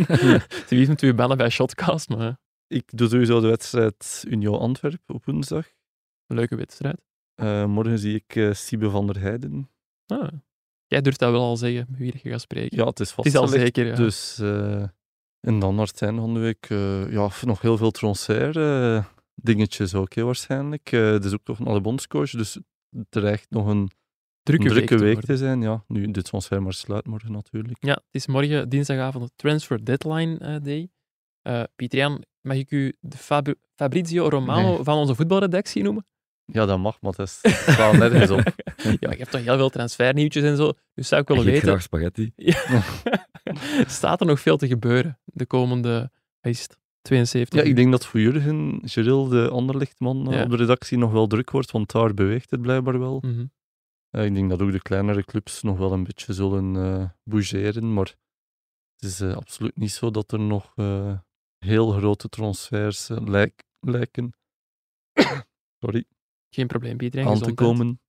S1: Ze wie moet u bellen bij Shotcast, maar eh,
S3: Ik doe sowieso de wedstrijd Union Antwerp op woensdag.
S1: een leuke wedstrijd.
S3: Eh, morgen zie ik eh Siebe van der Heijden.
S1: Ah. Jij durft dat wel al zeggen, met wie dat je gaat spreken.
S3: Ja, het is
S1: Het is al
S3: vastgelegd.
S1: zeker, ja.
S3: Dus, eh, en dan naar het einde van de week, eh, ja, f- nog heel veel transfer eh, dingetjes ook hè, waarschijnlijk. Eh het is ook nog naar de bondscoach, dus het dreigt nog een drukke, week, te,
S1: worden.
S3: zijn. Ja, nu de transfer maar sluit morgen natuurlijk.
S1: Ja, het is morgen dinsdagavond de Transfer Deadline eh, Day. Eh Pieter Jan, mag ik u de Fabri- Fabrizio Romano
S3: Nee.
S1: van onze voetbalredactie noemen?
S3: Ja, dat mag, maar dat is- het staat nergens op.
S1: Ja, je hebt toch heel veel transfernieuwtjes en zo. Dus zou ik willen
S4: Ik eet
S1: weten,
S4: graag spaghetti.
S1: staat er nog veel te gebeuren de komende wat is het, 72
S3: Ja, ik denk dat voor Jurgen, Geril, de anderlichtman eh,
S1: Ja.
S3: op de redactie, nog wel druk wordt, want daar beweegt het blijkbaar wel.
S1: uur? Mhm.
S3: Eh, ik denk dat ook de kleinere clubs nog wel een beetje zullen eh, bougeren, maar het is eh, absoluut niet zo dat er nog eh, heel grote transfers eh, lijk- lijken sorry,
S1: Geen probleem, Pieter Jan.
S3: aan te
S1: gezondheid.
S3: komen.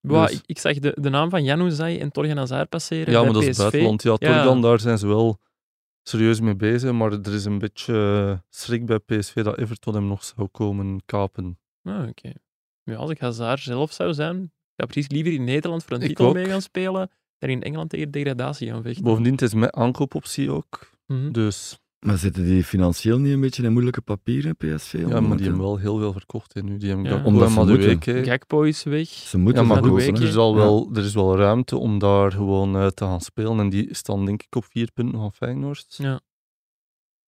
S1: Wa,
S3: Dus-
S1: ik, ik zag de, de naam van Jan Ouzai en Torgen Hazard passeren
S3: Ja,
S1: bij
S3: maar dat is
S1: PSV.
S3: buitenland. Ja,
S1: Ja.
S3: Torgan, daar zijn ze wel serieus mee bezig, maar er is een beetje eh, schrik bij PSV dat Everton hem nog zou komen kapen.
S1: Ah, oké. Ja, als ik Hazard zelf zou zijn, zou ik precies liever in Nederland voor een
S3: Ik
S1: titel
S3: ook.
S1: mee gaan spelen dan in Engeland tegen degradatie gaan vechten.
S3: Bovendien, het is met aankoopoptie ook,
S1: Mhm.
S3: dus
S4: Maar zitten die financieel niet een beetje in moeilijke papieren, PSV?
S3: ja, maar die hebben wel heel veel verkocht. Hè, nu. Die hebben
S1: Ja.
S3: Gakpo
S4: Omdat
S3: en
S4: ze moeten.
S3: Madueke.
S1: Gakpo is weg.
S4: Ze moeten
S3: ja, maar
S1: dat
S3: goed,
S1: doen,
S4: verkopen,
S1: hè.
S3: er is,
S4: hè.
S3: al
S4: Ja.
S3: wel, er is wel ruimte om daar gewoon eh, te gaan spelen. En die staan denk ik op vier punten van Feyenoord.
S1: Ja.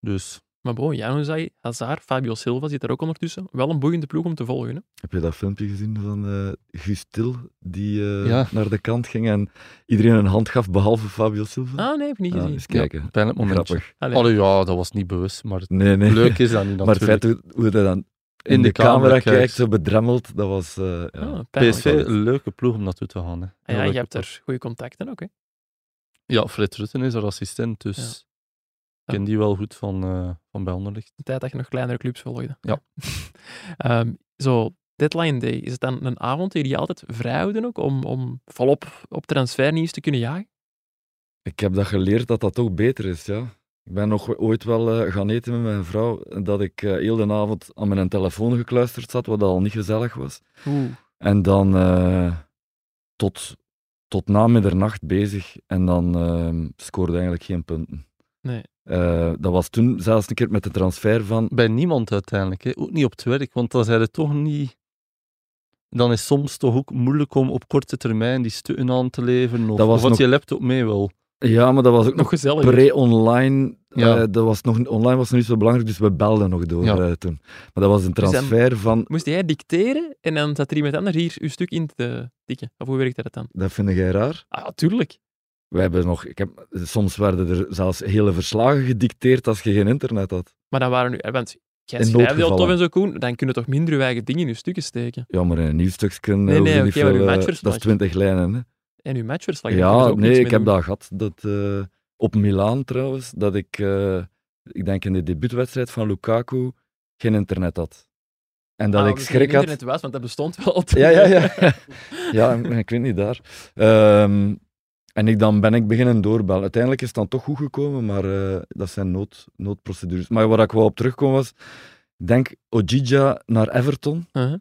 S3: Dus
S1: Maar bon, Jan Ouzai, Hazard, Fabio Silva zit er ook ondertussen. Wel een boeiende ploeg om te volgen. Hè?
S4: Heb je dat filmpje gezien van eh Gustil, die eh,
S3: Ja.
S4: naar de kant ging en iedereen een hand gaf, behalve Fabio Silva?
S1: Ah, nee, heb ik niet
S4: Ah,
S1: gezien.
S4: eens kijken.
S3: pijnlijk momentje.
S4: Grappig.
S1: Allee.
S3: Allee, ja, dat was niet bewust, maar
S4: Nee, nee.
S3: leuk is dat niet
S4: maar het
S3: natuurlijk.
S4: feit hoe, hoe hij dan in,
S3: de
S4: de, camera,
S3: camera
S4: kijkt,
S3: kijkt.
S4: zo bedremmeld, dat was... eh, ja.
S1: Ah, pijnlijk.
S3: PSV, een leuke ploeg om naartoe te gaan. Hè.
S1: Ah, ja,
S3: Heel
S1: je
S3: leuke
S1: hebt
S3: ploeg.
S1: er goede contacten ook. Hè?
S3: Ja, Fred Rutten is haar assistent, dus
S1: Ja.
S3: ik ken die wel goed van, eh van bij Anderlecht.
S1: De tijd dat je nog kleinere clubs volgde.
S3: Ja.
S1: Ehm, zo, deadline day. Is het dan een avond die jullie altijd vrijhouden ook om, om volop op transfernieuws te kunnen jagen?
S4: Ik heb dat geleerd dat dat toch beter is, ja. Ik ben nog ooit wel eh, gaan eten met mijn vrouw, dat ik eh, heel de avond aan mijn telefoon gekluisterd zat, wat al niet gezellig was.
S1: Oeh.
S4: En dan eh, tot, tot na middernacht bezig en dan ehm, scoorde eigenlijk geen punten.
S1: Nee.
S4: Eh, dat was toen zelfs een keer met de transfer van
S3: Bij niemand uiteindelijk, hè. ook niet op het werk, want dan zijn het toch niet... Dan is soms toch ook moeilijk om op korte termijn die stukken aan te leveren. Of,
S4: Dat was
S3: of had
S4: nog-
S3: je laptop mee wel?
S4: Ja, maar dat was ook
S1: Nog
S4: nog
S1: gezellig.
S4: pre-online.
S3: Ja.
S4: Eh, dat was nog, online was nog niet zo belangrijk, dus we belden nog door
S3: Ja.
S4: eh, toen. Maar dat was een
S1: Dus dan-
S4: transfer van...
S1: Moest jij dicteren en dan zat er iemand anders hier uw stuk in te tikken? Of hoe werkte dat dan?
S4: Dat vind jij raar?
S1: Ah, ja, tuurlijk.
S4: We hebben nog... Ik heb, soms werden er zelfs hele verslagen gedicteerd als je geen internet had.
S1: Maar dan waren nu... eh, Want jij
S4: In
S1: schrijft heel tof
S4: noodgevallen.
S1: en zo, Koen. Dan kunnen toch minder uw eigen dingen in uw stukken steken?
S4: Ja, maar in een nieuwstukje...
S1: nee, oké, maar uw
S4: eh, dat
S1: matchverslag.
S4: is twintig lijnen, hè.
S1: En uw matchverslag. daar kunnen ze
S4: Ja,
S1: ook niks
S4: nee, ik
S1: mee
S4: heb
S1: doen.
S4: dat gehad. Dat, eh, op Milaan trouwens, dat ik, eh, ik denk in de debuutwedstrijd van Lukaku, geen internet had. En dat
S1: Ah,
S4: ik
S1: omdat
S4: schrik
S1: er geen
S4: had...
S1: internet was, want dat bestond wel altijd.
S4: Ja, ja, ja. ja, ik- ik weet niet daar. Ehm, en ik, dan ben ik beginnen doorbellen. Uiteindelijk is het dan toch goed gekomen, maar eh, dat zijn nood, noodprocedures. Maar waar ik wel op terugkom was, ik denk Ojija naar Everton.
S1: Uh-huh.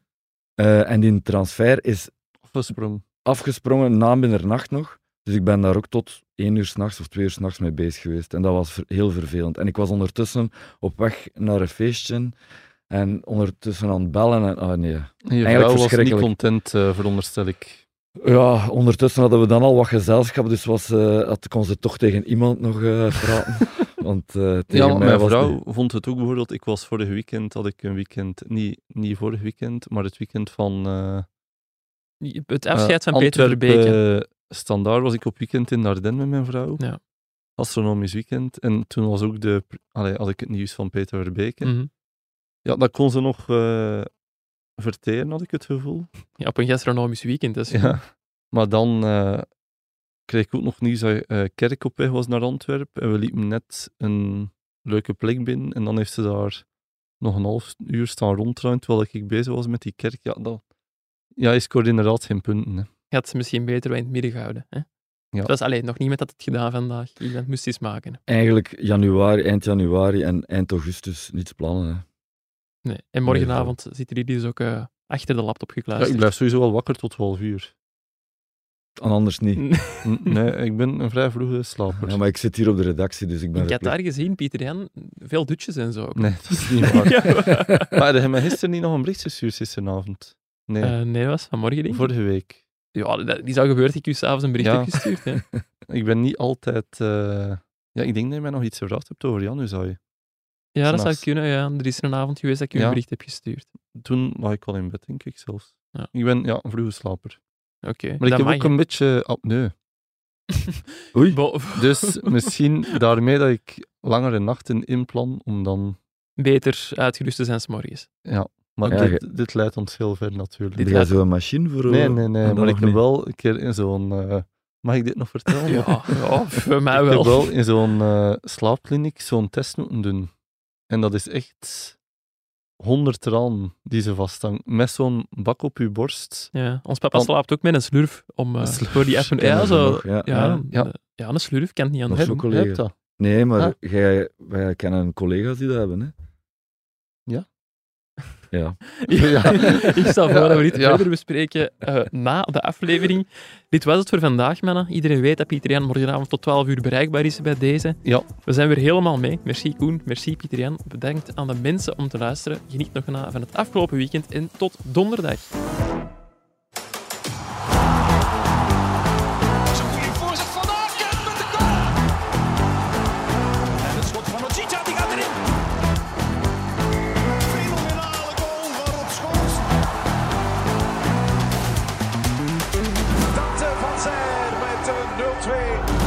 S4: Eh, en die transfer is
S3: Afgesprong.
S4: afgesprongen na middernacht nog. Dus ik ben daar ook tot één uur s'nachts of twee uur s'nachts mee bezig geweest. En dat was ver- heel vervelend. En ik was ondertussen op weg naar een feestje en ondertussen aan het bellen. En, ah nee.
S3: En Je
S4: Eigenlijk
S3: vrouw was niet
S4: verschrikkelijk.
S3: content, eh, veronderstel ik.
S4: Ja, ondertussen hadden we dan al wat gezelschap, dus was, eh, had, kon ze toch tegen iemand nog eh, praten. Want eh, tegen
S3: ja,
S4: mij
S3: mijn
S4: was het
S3: vrouw
S4: niet.
S3: vond het ook bijvoorbeeld. Ik was vorig weekend, had ik een weekend, niet, niet vorig weekend, maar het weekend van. eh,
S1: Het afscheid van
S3: eh,
S1: Peter
S3: Antwerpen,
S1: Verbeke.
S3: eh, Standaard was ik op weekend in Ardennen met mijn vrouw.
S1: Ja.
S3: Astronomisch weekend. En toen was ook de. pr- Allee, had ik het nieuws van Peter Verbeke.
S1: Mhm.
S3: Ja, dat kon ze nog eh, verteren, had ik het gevoel.
S1: Ja, op een gastronomisch weekend. Dus.
S3: Ja. Maar dan eh, kreeg ik ook nog nieuws dat eh, Kerk op weg was naar Antwerpen. En we liepen net een leuke plek binnen. En dan heeft ze daar nog een half uur staan rondruimen terwijl ik bezig was met die kerk. Ja, dat... ja je scoort inderdaad geen punten. Hè.
S1: Je had ze misschien beter wel in het midden gehouden. Hè?
S3: Ja.
S1: Het was alleen nog niemand had het gedaan vandaag. Iemand moest iets maken.
S4: Eigenlijk januari, eind januari en eind augustus niets plannen. Hè.
S1: Nee. En morgenavond zitten die dus ook eh, achter de laptop
S3: Ja, ik
S1: gekluisterd.
S3: blijf sowieso wel wakker tot 12 uur.
S4: En anders niet.
S3: N- nee, ik ben een vrij vroege slaper.
S4: Ja, maar ik zit hier op de redactie, dus ik ben
S1: ik had
S4: verplicht.
S1: daar gezien, Pieter Jan, veel dutjes en zo. ook.
S3: Nee, dat is niet waar.
S1: Ja, maar-
S3: Maar heb je mij gisteren niet nog een bericht gestuurd gisteravond? Nee,
S1: Eh, nee, dat was vanmorgen denk ik.
S3: vorige week.
S1: Ja, dat, die zou gebeurd dat ik u s'avonds een bericht
S3: Ja.
S1: heb gestuurd. Hè?
S3: Ik ben niet altijd... eh, Ja, ik denk dat je mij nog iets gevraagd hebt over Januzaj.
S1: Ja, dat zou
S3: S'nachts.
S1: kunnen. Ja. Er is er een avond geweest dat ik u een
S3: Ja.
S1: bericht heb gestuurd.
S3: Toen lag ik al in bed, denk ik zelfs.
S1: Ja.
S3: Ik ben ja, een vroege slaper.
S1: Oké,
S3: Maar ik
S1: dat
S3: heb
S1: mag
S3: ook
S1: hè.
S3: een beetje apneu.
S4: Oei.
S1: Bo-
S3: Dus misschien daarmee dat ik langere nachten inplan, om dan...
S1: beter uitgerust te zijn s'morgens.
S3: Maar
S4: Ja,
S3: dit, dit leidt ons heel ver natuurlijk.
S4: Heb jij zo'n machine voor?
S3: Nee,
S4: eh,
S3: nee,
S4: en
S3: nee.
S4: dan
S3: Maar
S4: nog
S3: ik heb
S4: niet?
S3: wel een keer in zo'n... eh, Mag ik dit nog vertellen?
S1: Ja, ja, voor mij
S3: Ik heb
S1: Ah, wel.
S3: wel in zo'n eh, slaapkliniek zo'n test moeten doen. En dat is echt 100 rand die ze vasthangen. Met zo'n bak op je borst.
S1: Ja, ons papa
S3: Van-
S1: slaapt ook met een slurf om eh,
S3: Een slurf,
S1: voor die appen. Ja,
S4: kennen ze
S1: zo,
S4: nog, ja.
S1: ja,
S3: Ja.
S1: eh, ja, een slurf kan het niet
S4: Dat
S1: anders.
S4: is
S3: Heb-
S4: ook collega.
S3: heb dat?
S4: Nee, maar
S3: Ah.
S4: jij, wij kennen collega's die dat hebben. Hè?
S3: Ja?
S4: Ja.
S1: Ja. ik stel voor dat we dit
S3: Ja.
S1: verder bespreken eh, na de aflevering. Dit was het voor vandaag, mannen. Iedereen weet dat Pieter Jan morgenavond tot 12 uur bereikbaar is bij deze.
S3: Ja.
S1: We zijn weer helemaal mee. Merci Koen, merci Pieter Jan. Bedankt aan de mensen om te luisteren. Geniet nog na van het afgelopen weekend en tot donderdag.
S2: Zo'n goede voorzet van de Aken met de goal. En het schot van Ojita, die gaat erin. Fenomenale goal van Rob Schoons. eh, Dante van Zijl met een eh, 0-2.